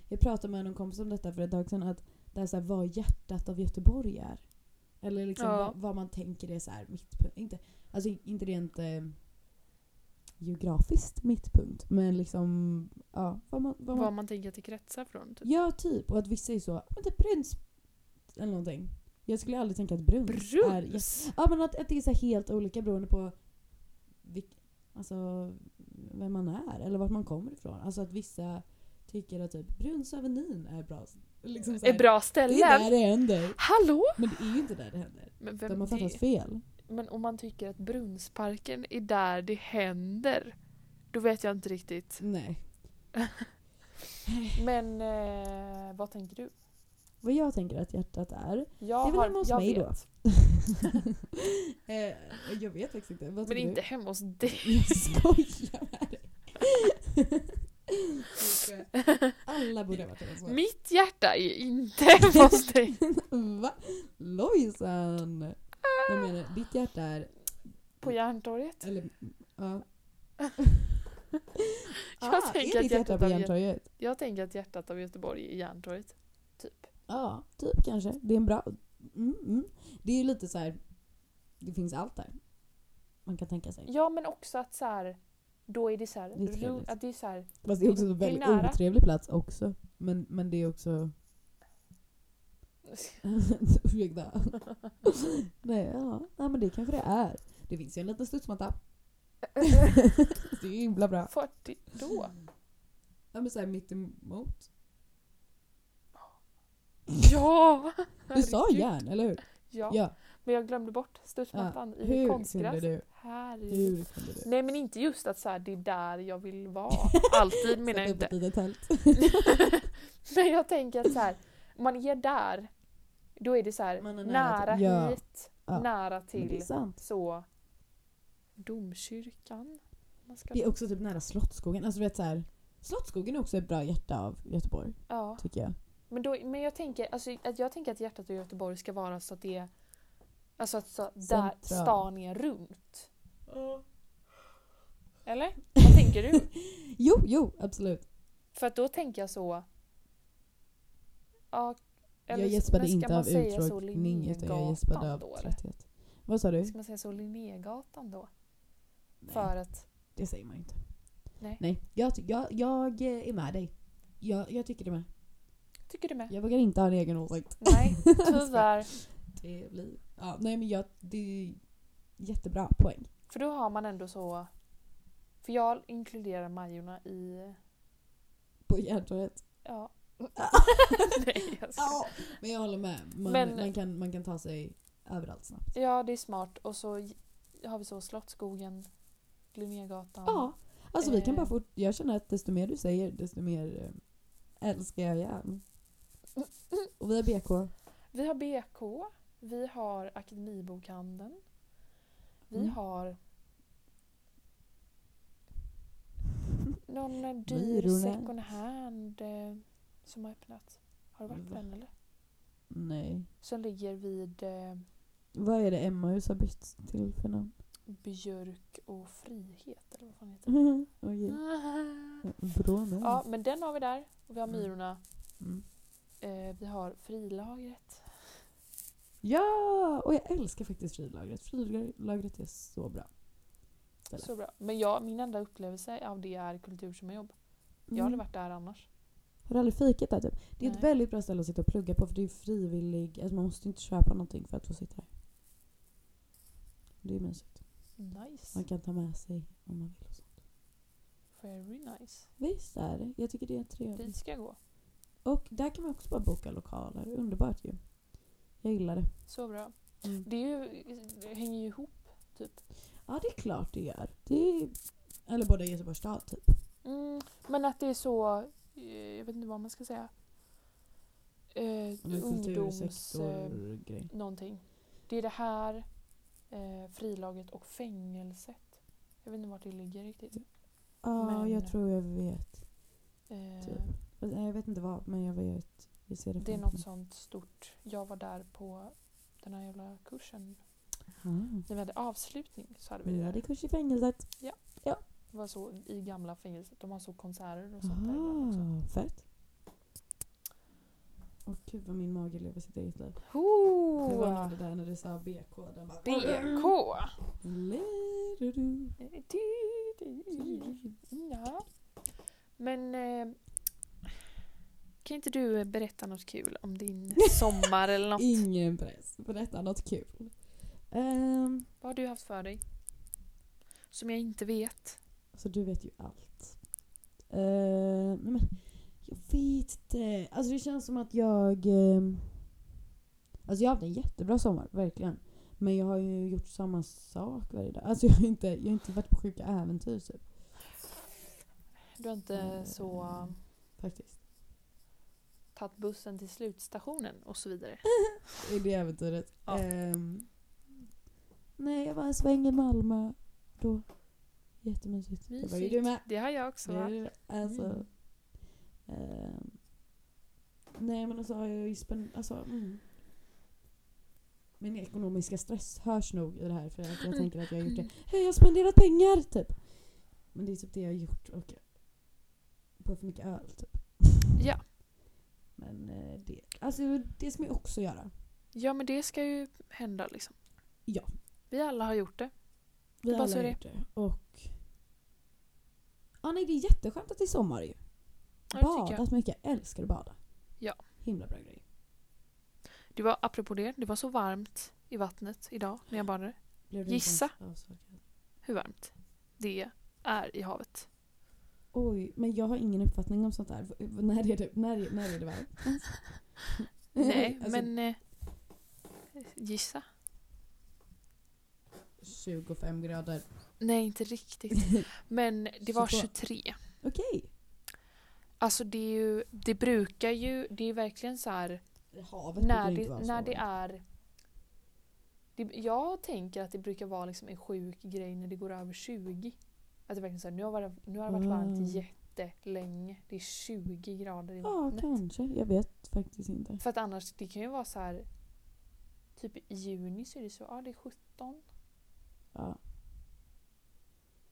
D: jag pratade med någon kompis om detta för ett tag sedan. Att det är så här, vad hjärtat av Göteborg är. Eller liksom
C: Ja.
D: vad, vad man tänker är så här mittpunkt. Inte, alltså inte rent eh, geografiskt mittpunkt. Men liksom ja, vad, man, vad man
C: Vad man tänker att det kretsar från. Typ.
D: Ja, typ. Och att vissa är så, men typ brunns eller någonting. Jag skulle aldrig tänka att bruns, är... Ja,
C: Brus!
D: ja, men att, att det är så här helt olika beroende på vilk, alltså, vem man är eller vart man kommer ifrån. Alltså att vissa tycker att typ Bruns och Avenyn är bra. Liksom så här,
C: Är bra
D: Det är där
C: ställen.
D: det händer.
C: Hallå!
D: Men det är ju inte där det händer.
C: Men,
D: De
C: vem,
D: har
C: det,
D: fattat fel.
C: men om man tycker att Brunnsparken är där det händer, då vet jag inte riktigt.
D: Nej.
C: Men eh, vad tänker du?
D: Vad jag tänker att hjärtat är.
C: Jag
D: det är väl
C: har-
D: hemma hos
C: jag
D: mig
C: vet.
D: då. eh, jag vet faktiskt inte. Vad
C: Men
D: tycker du?
C: inte hemma hos dig.
D: Jag skojar med dig. Alla borde ha varit överens om
C: Mitt hjärta är inte hemma hos dig.
D: det. Va? Lojsan! Jag menar, ditt hjärta är...
C: På Järntorget.
D: Eller, ja. Ah,
C: Jag tänker
D: är
C: att
D: ditt hjärta
C: hjärtat
D: på
C: av-
D: Järntorget?
C: Jag tänker att hjärtat av Göteborg är Järntorget. Typ.
D: Ja, typ kanske. Det är en bra... Mm, mm. Det är ju lite så här. Det finns allt där. Man kan tänka sig.
C: Ja men också att så här, då är det så här,
D: Det är trevligt.
C: ro- att det är så här
D: Fast det är också en
C: Det är
D: väldigt
C: nära.
D: otrevlig plats också. Men, men det är också... Ursäkta. Nej, ja. Nej, men det kanske det är. Det finns ju en liten studsmatta. det är ju himla bra.
C: 40 då.
D: Ja, men så här mittemot.
C: Ja!
D: Du sa
C: Herregud.
D: järn, eller hur?
C: Ja.
D: Ja.
C: Men jag glömde bort studsmattan i
D: Hur kunde
C: konstgräs.
D: du?
C: Här i...
D: Hur kunde du?
C: Nej men inte just att så här, det är där jag vill vara. Alltid menar jag
D: Sätta upp
C: inte.
D: ett litet tält.
C: Men jag tänker att så här, om man är där, då är det så här,
D: Man är
C: nära,
D: nära till- Ja.
C: hit,
D: Ja.
C: nära
D: Men det är
C: till
D: sant.
C: så domkyrkan. Man ska,
D: Det är också typ nära Slottsskogen. Alltså du vet så här. Slottsskogen är också ett bra hjärta av Göteborg,
C: ja.
D: tycker jag.
C: Men, då, men jag, tänker, alltså, att jag tänker att hjärtat i Göteborg ska vara så att det är Alltså att så, där
D: Central.
C: stan är runt. Eller? Vad tänker du?
D: Jo, jo, absolut.
C: För att då tänker jag så... Ja,
D: jag gäspade
C: men ska man
D: inte av
C: säga så
D: uttråkning utan jag gäspade
C: Linnégatan
D: av
C: då, eller?
D: trötthet. Vad sa du?
C: Ska man säga så Linnégatan då?
D: Nej.
C: För att...
D: Det säger man ju inte.
C: Nej.
D: Nej, jag, ty- jag, jag eh, är med dig. Ja, jag tycker det med.
C: Tycker du med?
D: Jag vågar inte ha en egen åsikt.
C: Nej, tyvärr.
D: Det blir... Ja, nej men jag, det är jättebra poäng.
C: För då har man ändå så... För jag inkluderar Majorna i...
D: På hjärtat.
C: Ja. Nej, jag skojar.
D: Ja, men jag håller med. Man,
C: Men-
D: man, kan, man kan ta sig överallt snabbt.
C: Ja, det är smart. Och så j- har vi så Slottsskogen, Linnégatan.
D: Ja. Alltså vi kan
C: Eh.
D: bara fort... Jag känner att desto mer du säger desto mer eh, älskar jag igen. Och vi har BK.
C: Vi har BK, vi har Akademibokhandeln. Vi
D: Mm.
C: har... Någon eh, dyr
D: Myrorna.
C: second hand eh, som har öppnat. Har du varit på
D: Va?
C: den eller?
D: Nej.
C: Som ligger vid eh,
D: Vad är det Emmahus har bytt till för namn?
C: Björk och Frihet eller vad fan heter det?
D: Okej. Bra namn.
C: Mm. Ja, men den har vi där. Och vi har
D: Mm.
C: Myrorna.
D: Mm.
C: Eh, vi har Frilagret.
D: Ja! Och jag älskar faktiskt frilagret. Frilagret är så bra. Eller?
C: Så bra. Men jag, min enda upplevelse av det är kultur som jobb. Jag har aldrig
D: Mm.
C: varit där annars.
D: Har du aldrig fikat där typ? Det är ett
C: Nej.
D: väldigt bra ställe att sitta och plugga på för det är frivillig. Alltså man måste inte köpa någonting för att få sitta där. Det är mysigt.
C: Nice.
D: Man kan ta med sig om man vill. Och så.
C: Very nice.
D: Visst är det. Jag tycker det är
C: Dit
D: trevligt.
C: ska jag gå.
D: Och där kan man också bara boka lokaler. Underbart ju. Jag gillar det.
C: Så bra.
D: Mm.
C: Det, är ju, det hänger ju ihop.
D: Ja det är klart det gör. Det är... Eller båda i Göteborgs stad typ.
C: Mm, men att det är så, eh, jag vet inte vad man ska säga. Eh, ungdoms... Eh,
D: Kultursektor-grej.
C: någonting. Det är det här, eh, frilaget och fängelset. Jag vet inte vart det ligger riktigt.
D: Ja,
C: men-
D: jag tror jag vet.
C: Eh,
D: Typ. Nej, Jag vet inte vad, men jag vet. Jag ser det
C: det är
D: framför
C: något
D: mig.
C: sånt stort. Jag var där på den här jävla kursen.
D: Ah.
C: När vi hade avslutning så hade vi
D: Vi
C: det.
D: hade kurs i fängelset.
C: Det var så i gamla fängelset. De har så konserter och sånt där ibland också.
D: Ah, fett. Åh gud vad min mage lever sitt eget liv. Det var nog det där när du sa BK. Den bara...
C: BK.
D: Lerudu.
C: Ja. Men eh, kan inte du eh, berätta något kul om din sommar eller något?
D: Ingen press. Berätta något kul. Ehm,
C: Vad har du haft för dig? Som jag inte vet.
D: så Alltså, du vet ju allt. Ehm, nej men, jag vet inte. Alltså det känns som att jag... ehm, alltså jag har haft en jättebra sommar, verkligen. Men jag har ju gjort samma sak varje dag. Alltså jag har inte, jag har inte varit på sjuka äventyr typ.
C: Du har inte
D: Eh.
C: så eh,
D: Faktiskt.
C: tagit bussen till slutstationen och så vidare.
D: I det äventyret.
C: Ja.
D: Ehm, nej, jag var en sväng i Malmö då. Jättemysigt. Det var ju
C: Mysigt.
D: du med.
C: Det har jag också
D: Det var
C: va?
D: ju du med. Alltså,
C: Mm.
D: ehm, nej, men alltså har jag ju spänn... Alltså, mm. Min ekonomiska stress hörs nog i det här för att jag tänker att jag har gjort det.
C: Mm.
D: Hej, jag har spenderat pengar! Typ. Men det är typ det jag har gjort och på för mycket öl typ.
C: Ja.
D: Men eh, det, alltså, det ska man ju också göra.
C: Ja men det ska ju hända liksom.
D: Ja.
C: Vi alla har gjort det. Det
D: Vi
C: är
D: alla
C: bara så
D: har
C: det är.
D: gjort det. Och... Ja, nej, det är jätteskönt att det är sommar ju.
C: Ja, det tycker jag.
D: Badat mycket. Jag älskar att bada.
C: Ja.
D: Himla bra grej.
C: Det var, apropå det, det var så varmt i vattnet idag när jag badade.
D: Blev
C: du inte Gissa.
D: avsakad?
C: Hur varmt det är i havet.
D: Oj, men jag har ingen uppfattning om sånt där. V- När är det, när är, när är det varmt?
C: Nej,
D: Alltså,
C: men eh, gissa.
D: 25 grader.
C: Nej, inte riktigt. Men det var
D: 22.
C: 23.
D: Okej.
C: Alltså det är ju, det brukar ju, det är verkligen så här
D: Havet
C: när
D: brukar
C: det,
D: inte vara så
C: när det
D: varmt.
C: är det, jag tänker att det brukar vara liksom en sjuk grej när det går över 20. Att det verkligen så här, nu har, varit, nu har det varit
D: Ah.
C: varmt jättelänge. Det är 20 grader i
D: Ja,
C: vattnet.
D: kanske. Jag vet faktiskt inte.
C: För att annars, det kan ju vara så här typ i juni så är det så, ja det är 17.
D: Ja.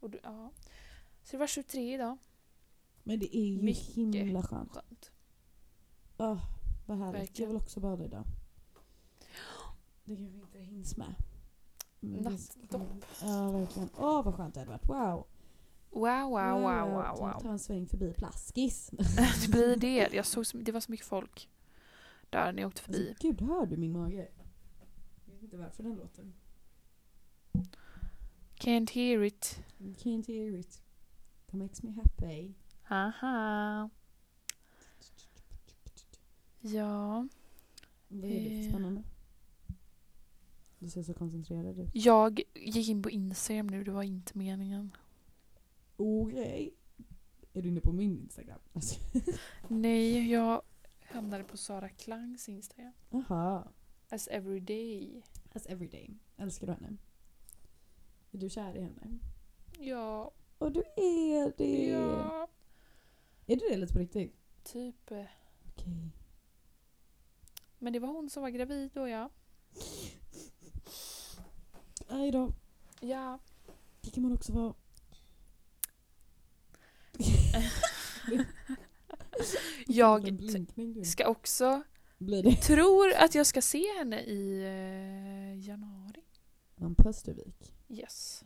C: Och du, ja. Så det var 23 idag.
D: Men det är ju
C: Mycket
D: himla skönt.
C: Skönt.
D: Oh, vad härligt.
C: Verkligen.
D: Jag vill också bada idag. Det kanske inte hinns med. Men Mm, det ska-
C: Nattdopp.
D: Ja, verkligen. Åh, vad skönt det hade varit. Wow.
C: Wow, wow, wow, wow,
D: Ska vi
C: wow.
D: Ta en sväng förbi Plaskis.
C: Det blir det. Jag såg så, det var så mycket folk där när jag åkte förbi.
D: Alltså, gud, hör du min mage? Jag vet inte varför den låter.
C: Can't hear it.
D: You can't hear it. That makes me happy.
C: Haha. Ja.
D: Vad är det
C: Eh.
D: för spännande? Du ser så koncentrerad ut.
C: Jag gick in på Instagram nu, det var inte meningen.
D: Okej. Är du inne på min Instagram? Alltså.
C: Nej, jag hamnade på Sara Klangs Instagram.
D: Aha.
C: As everyday.
D: As everyday. Älskar du henne? Är du kär i henne?
C: Ja,
D: Och du är det!
C: ja.
D: Är du det lite på riktigt?
C: Typ. eh,
D: Okej.
C: Men det var hon som var gravid då ja.
D: Aj då.
C: Ja.
D: Det kan man också vara.
C: Jag
D: Vilken blinkning du är.
C: ska också,
D: Blir det
C: tror att jag ska se henne i eh, januari.
D: någon på Östervik?
C: Yes.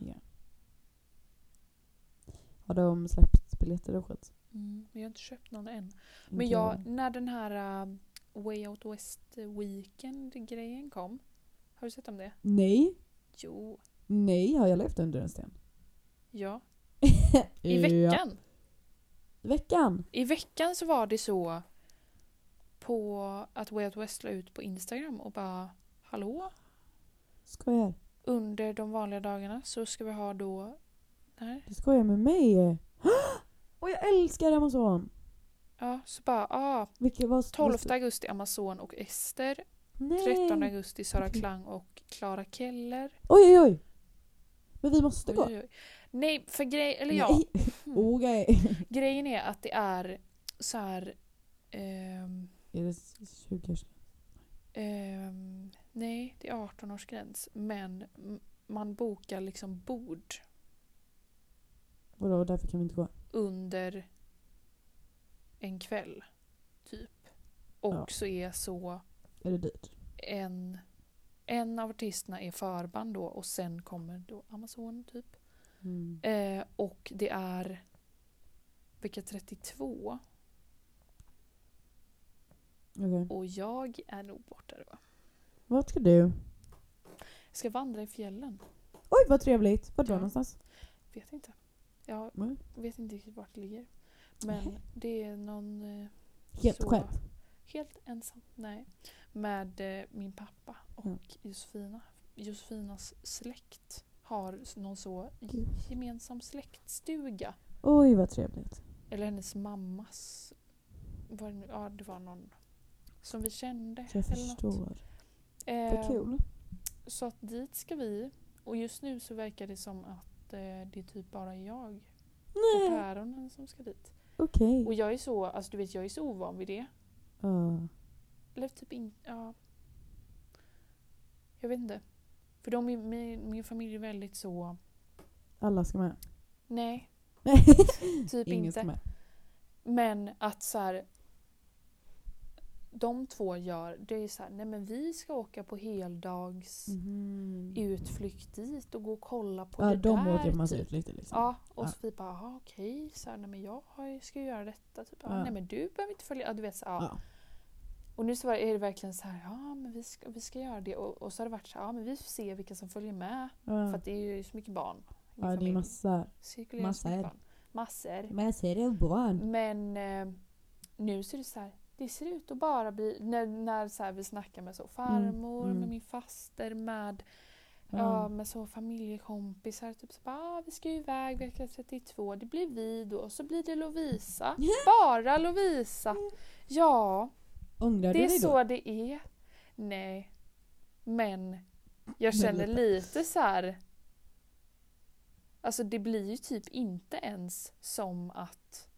D: Har de släppt biljetter och skit?
C: Mm, men jag har inte köpt någon än.
D: Inte
C: Men jag, när den här eh, Way Out West Weekend-grejen kom. Har du sett om det?
D: Nej,
C: Jo.
D: nej, har jag levt under en sten?
C: Ja. I
D: Ja.
C: veckan.
D: I veckan?
C: I veckan så var det så på att Way Out West la ut på Instagram och bara Hallå?
D: Skojar.
C: Under de vanliga dagarna så ska vi ha då Nej.
D: Du skojar med mig? Och jag älskar Amazon!
C: Ja, så bara ah,
D: Vilket var
C: 12 augusti Amazon och Ester.
D: Nej.
C: 13 augusti Sara
D: Okej.
C: Klang och Clara Keller.
D: Oj, oj, oj! Men vi måste gå.
C: Oj, oj, oj. Nej, för grej, eller ja, Mm.
D: Nej. Oh, Okej.
C: grejen är att det är så här... ehm,
D: Är det 20 års
C: ehm, nej, det är 18-årsgräns. Men m- man bokar liksom bord
D: Vadå, därför kan vi inte gå?
C: under en kväll. Typ. Och
D: Ja.
C: så är så
D: Är det dyrt?
C: en, en av artisterna är förband då och sen kommer då Amazon typ.
D: Mm.
C: Eh, och det är vecka 32
D: Okej.
C: och jag är nog borta då.
D: Vart ska du?
C: Jag ska vandra i fjällen.
D: Oj, vad trevligt! Vart var
C: Ja.
D: någonstans?
C: Vet inte. Jag
D: Nej.
C: vet inte riktigt vart det ligger. Men det är någon... Eh,
D: Helt
C: så-
D: själv.
C: Helt ensam, nej. Med eh, min pappa och
D: Mm.
C: Josefina. Josefinas släkt har s- någon så
D: Gud.
C: gemensam släktstuga.
D: Oj, vad trevligt.
C: Eller hennes mammas. Var det, nu- ja, det var någon som vi kände.
D: Jag
C: eller något.
D: förstår.
C: Eh,
D: Vad kul.
C: Så att dit ska vi. Och just nu så verkar det som att eh, det är typ bara jag och
D: Nej,
C: päronen som ska dit.
D: okej.
C: Och jag är så, alltså du vet jag är så ovan vid det.
D: Ja.
C: Eller typ inte, ja. Jag vet inte. För de, är- min, min familj är väldigt så,
D: Alla ska med.
C: nej,
D: Nej,
C: typ
D: ingen
C: inte.
D: ska med.
C: Men att så här. De två gör, det är så här, nej men vi ska åka på heldags
D: Mhm.
C: utflykt dit och gå och kolla på
D: Ja,
C: det
D: de
C: där.
D: åker man
C: typ.
D: ut lite liksom.
C: Ja, och
D: Ja.
C: så vi bara, aha, okej, så här, nej men jag har- ska ju göra detta. Typ. Ja.
D: Ja.
C: Nej men du behöver inte följa, ja, du vet så här, ja.
D: Ja.
C: Och nu så var- är det verkligen så här, ja men vi ska, vi ska göra det. Och, och så har det varit så här, ja men vi får se vilka som följer med. För
D: Ja.
C: att det är ju så mycket barn. i min
D: Ja, det är
C: familj.
D: massa.
C: Cirkulerar så mycket
D: massor.
C: barn. Massor.
D: Men jag ser det barn.
C: Men eh, nu ser det så här, det ser ut att bara bli, när, när så här, vi snackar med så farmor,
D: mm.
C: med min faster, med,
D: Ja.
C: ja, med så familjekompisar. Typ så bara, ah, vi ska ju iväg vecka 32, det blir vi då. Och så blir det Lovisa. Bara Lovisa.
D: Mm.
C: Ja.
D: Ångrar
C: Det
D: du
C: är
D: dig då?
C: så det är. Nej. Men jag känner
D: lite.
C: lite så här. Alltså det blir ju typ inte ens som att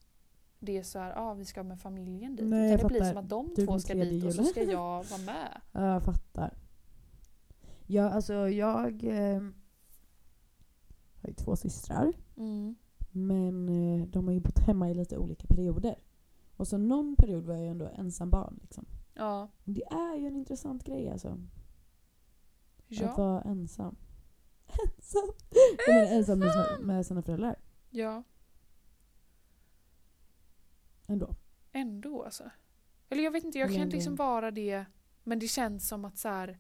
C: det är så här, ah, vi ska med familjen dit.
D: Nej, jag
C: Utan det blir
D: fattar.
C: som att de
D: Du
C: två
D: kommer
C: ska
D: tredje
C: dit och så
D: julen.
C: ska jag vara med.
D: Ja, jag fattar. Ja, alltså jag eh, har ju två systrar.
C: Mm.
D: Men eh, de har ju bott hemma i lite olika perioder. Och så någon period var jag ju ändå ensam barn. Liksom.
C: Ja.
D: Det är ju en intressant grej alltså. Att
C: Ja.
D: vara ensam. Ensam? Jag menar ensam med, sina- med sina föräldrar.
C: ja. ändå alltså. Eller jag vet inte, jag
D: Men
C: kan
D: ändå.
C: liksom vara det. Men det känns som att så här.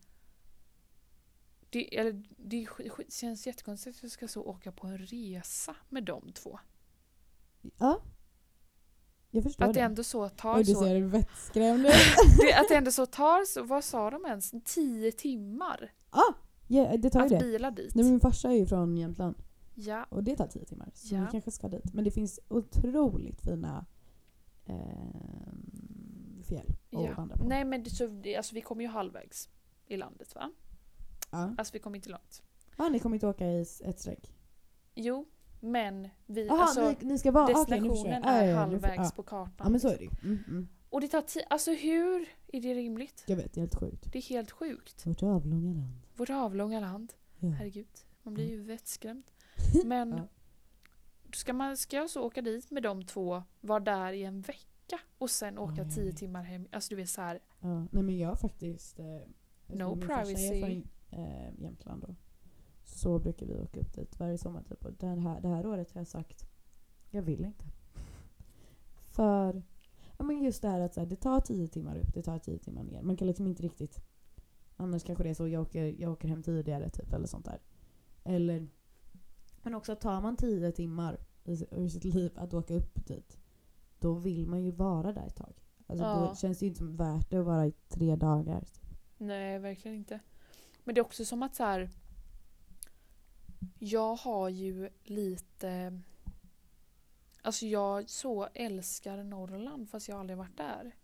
C: Det, eller, det är sk- sk- känns jättekonstigt att jag ska så åka på en resa med de två.
D: Ja. Jag förstår
C: Att det
D: det.
C: ändå så tar
D: Oj, du
C: så.
D: ser vettskrämd ut.
C: Det, att det ändå så tar så, vad sa de ens? Tio timmar
D: Ja, det tar ju
C: att
D: det.
C: bila dit.
D: Nej, men min farsa är ju från Jämtland
C: Ja,
D: och det tar tio timmar. Så
C: Ja.
D: vi kanske ska dit. Men det finns otroligt fina eh, fjäll att
C: ja.
D: vandra på.
C: Nej men det, så, det, alltså, vi kommer ju halvvägs i landet va?
D: Ja.
C: Alltså vi kommer inte långt.
D: Ah, ni kommer inte åka i s- ett streck?
C: Jo, men vi,
D: Jaha,
C: alltså,
D: ni, ni ska vara... ah, okej, nu förstår
C: destinationen
D: jag. Ja,
C: är
D: ja, ja, nu för-
C: halvvägs
D: Ja.
C: på kartan.
D: ja, men så är
C: liksom.
D: det ju. Mm, mm.
C: Och det tar tid, alltså hur är det rimligt?
D: Jag vet, det är helt sjukt.
C: Det är helt sjukt.
D: Vårt avlånga land.
C: Vårt avlånga land,
D: Ja.
C: herregud. Man blir ju
B: Mm.
C: vettskrämd. Men
D: Ja.
C: ska, man, ska jag så åka dit med de två, vara där i en vecka och sen åka
D: Oj,
C: tio
D: oj.
C: timmar hem? Alltså du vet så här,
D: Ja, nej men jag har faktiskt... Eh, eftersom
C: No
D: min farsa
C: privacy.
D: är från eh, Jämtland då. Så brukar vi åka upp dit varje sommar typ. Och den här, det här året har jag sagt, jag vill inte. För ja, men just det här att så här, det tar tio timmar upp, det tar tio timmar ner. Man kan liksom inte riktigt... Annars kanske det är så, jag åker, jag åker hem tidigare typ eller sånt där. Eller... Men också tar man tio timmar i, si- ur sitt liv att åka upp dit. Då vill man ju vara där ett tag. Alltså,
C: Ja.
D: Då känns det ju inte som värt det att vara i tre dagar. typ.
C: nej verkligen inte. Men det är också som att så här, jag har ju lite, alltså jag så älskar Norrland fast jag aldrig varit där.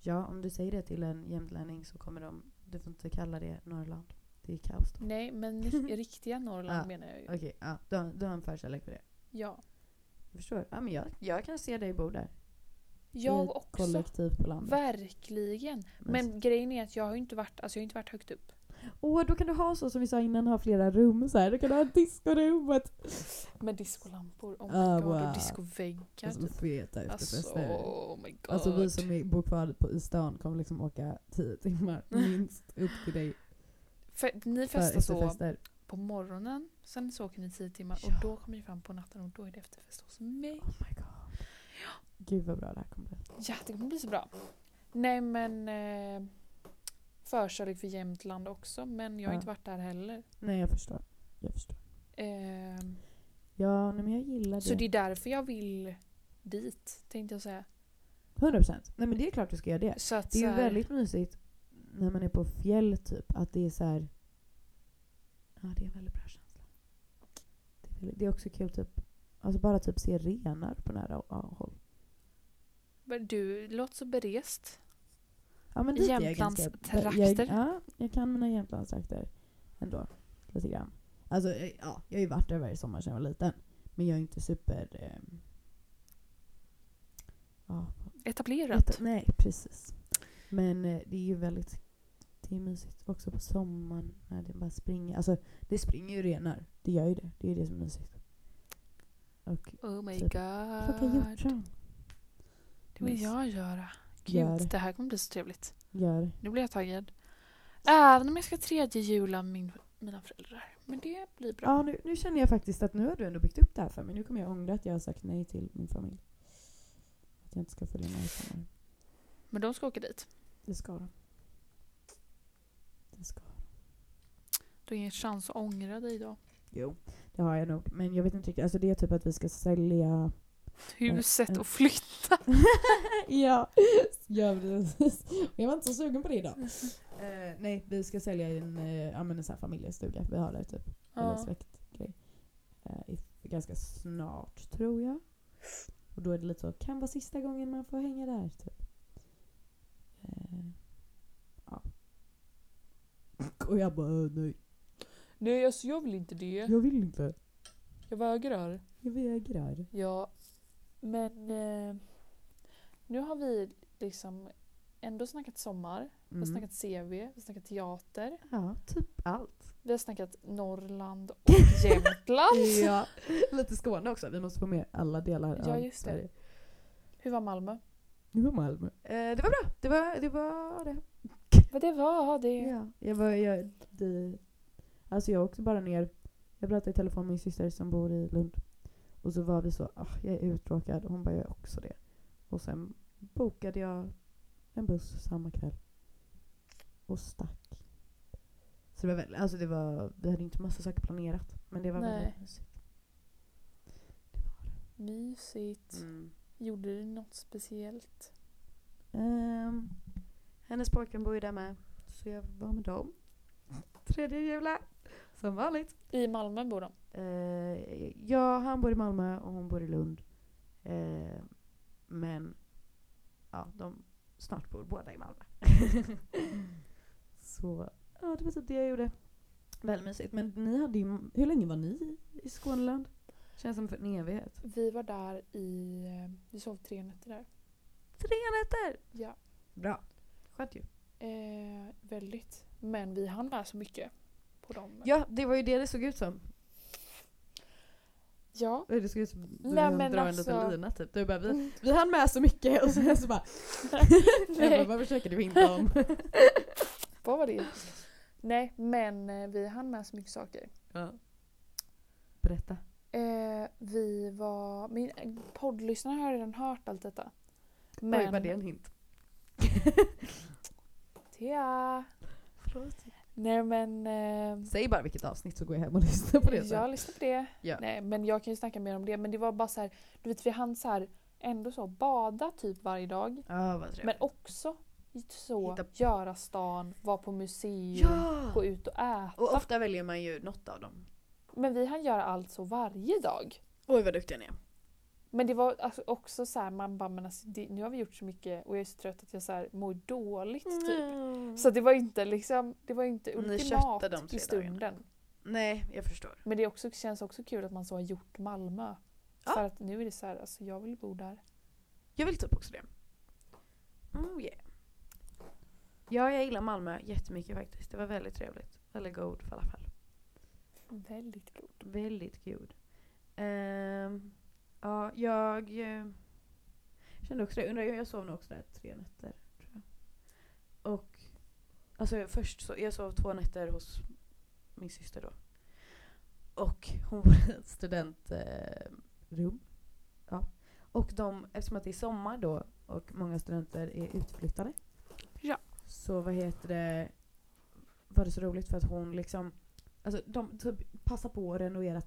B: Ja, om du säger det till en jämtlänning så kommer de... Du får inte kalla det Norrland. Det är kaos då.
C: Nej, men ri- riktiga Norrland
B: Ja,
C: menar jag ju.
B: Okej, ja, du, har- du har en förkärlek för det.
C: Ja.
B: Jag förstår. Ja, men jag, jag kan se dig bo där.
D: I
C: Jag också.
D: Kollektivt på landet.
C: Verkligen. Men grejen är att jag har ju inte varit, alltså jag har inte varit högt upp.
D: Åh, då kan du ha så som vi sa innan, ha flera rum så här. Då kan du ha ett diskorum och ett...
C: Med discolampor, oh my
D: Ah,
C: god,
D: wow.
C: och discoväggar
D: Alltså
C: typ.
D: feta
C: Alltså,
D: efterfester. Alltså,
C: oh my god.
D: alltså vi som är- bor kvar på, i stan kommer liksom åka tio timmar minst upp till dig
C: För, ni
D: för
C: Mm. festar så
D: efterfester.
C: på morgonen, sen så åker ni tio timmar och
D: Ja.
C: då kommer ni fram på natten och då är det efterfest hos mig.
D: Oh my god. Gud vad bra det här kommer bli.
C: Ja, det kommer bli så bra. Nej men eh, förkärlek för Jämtland också men jag har
D: Ja.
C: inte varit där heller.
D: Nej jag förstår. Jag förstår.
C: Ehm,
D: Ja, nej, men jag gillar det.
C: Så det är därför jag vill dit, tänkte jag säga.
D: 100%. Nej men det är klart du ska göra det.
C: Så att
D: Det är
C: så
D: ju
C: här,
D: väldigt mysigt när man är på fjäll typ, att det är så här. Ja, det är en väldigt bra känsla. Det är, väldigt, det är också kul typ, alltså bara typ se renar på nära ja, håll.
C: men Du låter så berest.
D: Ja, men dit är jag
C: Jämtlandstrakter.
D: ganska- Jag, ja, jag kan mina Jämtlandstrakter ändå. Lite grann. Alltså, eh, ja, jag har ju varit där varje sommar sedan jag var liten. Men jag är inte super... ehm, ja,
C: Etablerat.
D: Ett- nej, precis. Men eh, det är ju väldigt det är mysigt också på sommaren när det bara springer. Alltså det springer ju renar. Det gör ju det. Det är ju det som är mysigt. Och
C: Oh my
D: Typ. plocka
C: god.
D: hjortron.
C: Det vill jag göra. Gud,
D: Gör.
C: det här kommer bli så trevligt.
D: Gör.
C: Nu blir jag taggad. Även om jag ska tredje jula med min, mina föräldrar. Men det blir bra.
D: Ja, nu, nu känner jag faktiskt att nu har du ändå byggt upp det här för mig. Nu kommer jag ångra att jag har sagt nej till min familj. Att jag inte ska följa med i sommar.
C: Men de ska åka dit.
D: Det ska de. Det ska de.
C: Du har ingen chans att ångra dig då.
D: Jo, det har jag nog. Men jag vet inte riktigt. Alltså det är typ att vi ska sälja
C: Huset
D: Mm.
C: och flytta.
D: ja, gör precis. Jag var inte så sugen på det idag. Eh, nej, vi ska sälja i en, eh, ja, men en sån här familjestuga vi har där typ. Eller
C: Ja.
D: släktgrej. Eh, i- ganska snart tror jag. Och då är det lite så, kan vara sista gången man får hänga där typ. Eh, ja. Och jag bara, "Eh, nej.
C: Nej, alltså jag vill inte det.
D: Jag vill inte.
C: Jag vägrar.
D: Jag vägrar.
C: Ja, men eh, nu har vi liksom ändå snackat sommar, vi har
D: Mm.
C: snackat CV, vi har snackat teater,
D: Ja, typ allt.
C: vi har snackat Norrland och Jämtland.
D: ja. Lite Skåne också. Vi måste få med alla delar
C: Ja,
D: av
C: just det.
D: Sverige.
C: Hur var Malmö?
D: Nu var Malmö.
B: Eh, det var bra. Det var det. Var det.
C: Vad det var det.
D: Ja, jag var... Jag, det, alltså jag åkte bara ner. Jag pratade i telefon med min syster som bor i Lund. Och så var vi så, ah, jag är uttråkad. Och hon bara, jag är också det. Och sen bokade jag en buss samma kväll. Och stack. Så det var väl, alltså det var, vi hade inte massa saker planerat. Men det var
C: Nej.
D: väldigt mysigt.
C: Mysigt.
B: Mm.
C: Gjorde du något speciellt?
B: Ehm, hennes pojkvän bor ju där med. Så jag var med dem. Tredje jula. Som vanligt.
C: I Malmö bor de.
B: Eh,
D: Ja, han bor i Malmö och hon bor i Lund. Eh, men
B: ja, de snart bor båda i Malmö.
D: så, ja det var typ det jag gjorde. Väldigt mysigt. Men ni hade ju, hur länge var ni i Skåneland? Känns som för en evighet.
C: Vi var där i... eh, Vi sov tre nätter där.
B: Tre nätter!
C: Ja.
D: Bra. Skönt ju.
C: Eh, väldigt. Men vi hann med så mycket. På dem.
D: Ja, det var ju det det såg ut som.
C: ja.
D: Eller Det såg ut som att du
C: Nej,
D: hann
C: men
D: dra en
C: alltså-
D: liten lina typ. Du bara, vi, vi hann med så mycket och sen så bara... jag bara, vad försöker du hinta om?
C: Vad var det? Nej, men eh, vi hann med så mycket saker.
D: Berätta.
C: Eh, vi var... Min poddlyssnare har redan hört allt detta.
D: Oj, var det en hint?
C: Tea! Nej men... Eh,
D: Säg bara vilket avsnitt så går jag hem och lyssnar på det sen.
C: jag lyssnar på det.
D: Ja.
C: Nej, men jag kan ju snacka mer om det. Men det var bara så här, du vet vi hann så här, ändå så bada typ varje dag.
D: Ja, vad trevligt.
C: Men också så
D: Hitta-
C: göra stan, vara på museum, gå ut och äta.
B: Och ofta väljer man ju något av dem.
C: Men vi hann göra allt så varje dag.
B: Oj vad duktiga ni är.
C: Men det var alltså också så här, man bara men alltså, det, nu har vi gjort så mycket och jag är så trött att jag så här, mår dåligt typ. Så det var inte liksom, det var inte
B: Ni köttade
C: ultimat
B: de tre
C: i stunden.
B: Nej, jag förstår.
C: Men det också, känns också kul att man så har gjort Malmö.
B: Ja.
C: För att nu är det så här, alltså jag vill bo där.
B: Jag vill typ också det. Oh yeah. Ja, jag gillar Malmö jättemycket faktiskt. Det var väldigt trevligt. Väldigt god falafel.
C: Väldigt god.
B: Väldigt god. Ehm, ja, jag eh, kände också det. Undrar, jag sov nog också där tre nätter. Tror jag. Och alltså jag- först så, jag sov två nätter hos min syster då. Och hon var eh, i ett studentrum.
D: Rum.
B: Och de, eftersom att det är sommar då och många studenter är utflyttade.
C: Ja.
B: Så vad heter det, var det så roligt för att hon liksom, alltså de typ passar på att renovera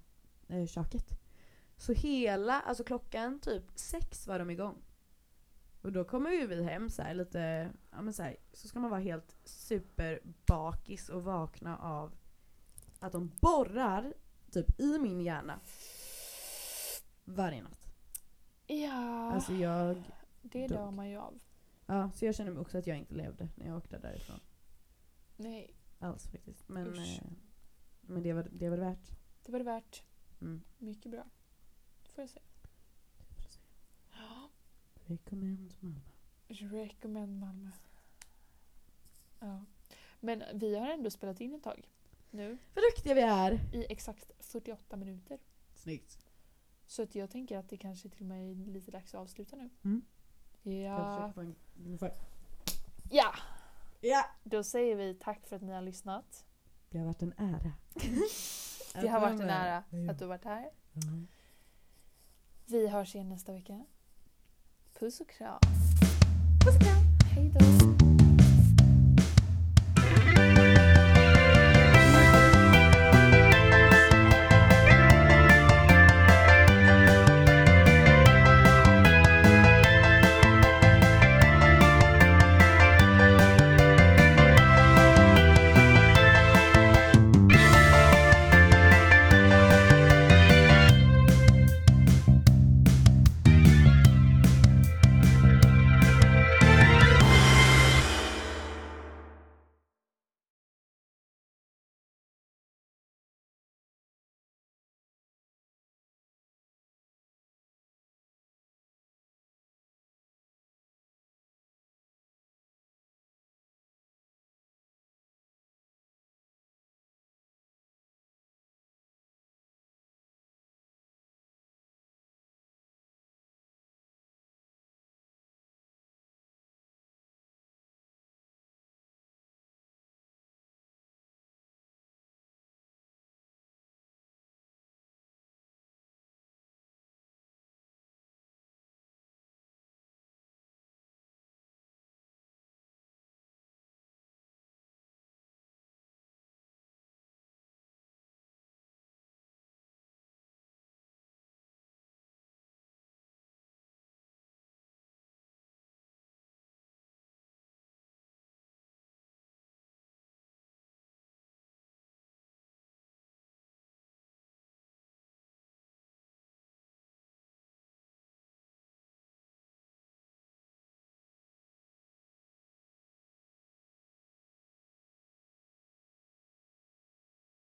B: eh, köket. Så hela, alltså klockan typ sex var de igång. Och då kommer ju vi hem så här lite, ja men så här, så ska man vara helt superbakis och vakna av att de borrar typ i min hjärna. Varje natt.
C: Ja,
D: Ah.
B: Alltså jag
C: det
D: dog.
C: dör man ju av.
B: Ja, så jag känner mig också att jag inte levde när jag åkte därifrån.
C: Nej,
B: Alls faktiskt. Men,
C: Usch.
B: eh, men det, var, det var det värt.
C: det var det värt.
B: Mm.
C: Mycket bra. Får jag säga. Ja.
D: Recommend Malmö.
C: Recommend Malmö. Ja. Men vi har ändå spelat in ett tag. Nu.
B: Vad duktiga vi är!
C: I exakt 48 minuter.
D: Snyggt.
C: Så att jag tänker att det kanske till och med är lite dags att avsluta nu.
D: Mm. Jag
C: Ja.
D: försöker få en- ungefär.
C: ja!
D: Ja!
C: Då säger vi tack för att ni har lyssnat.
D: Det har varit en ära.
C: Det har varit en
D: med.
C: ära
D: Ja.
C: att du har varit här.
D: Ja.
C: Vi hörs igen nästa vecka. Puss och kram.
B: Puss och kram!
C: Hej då.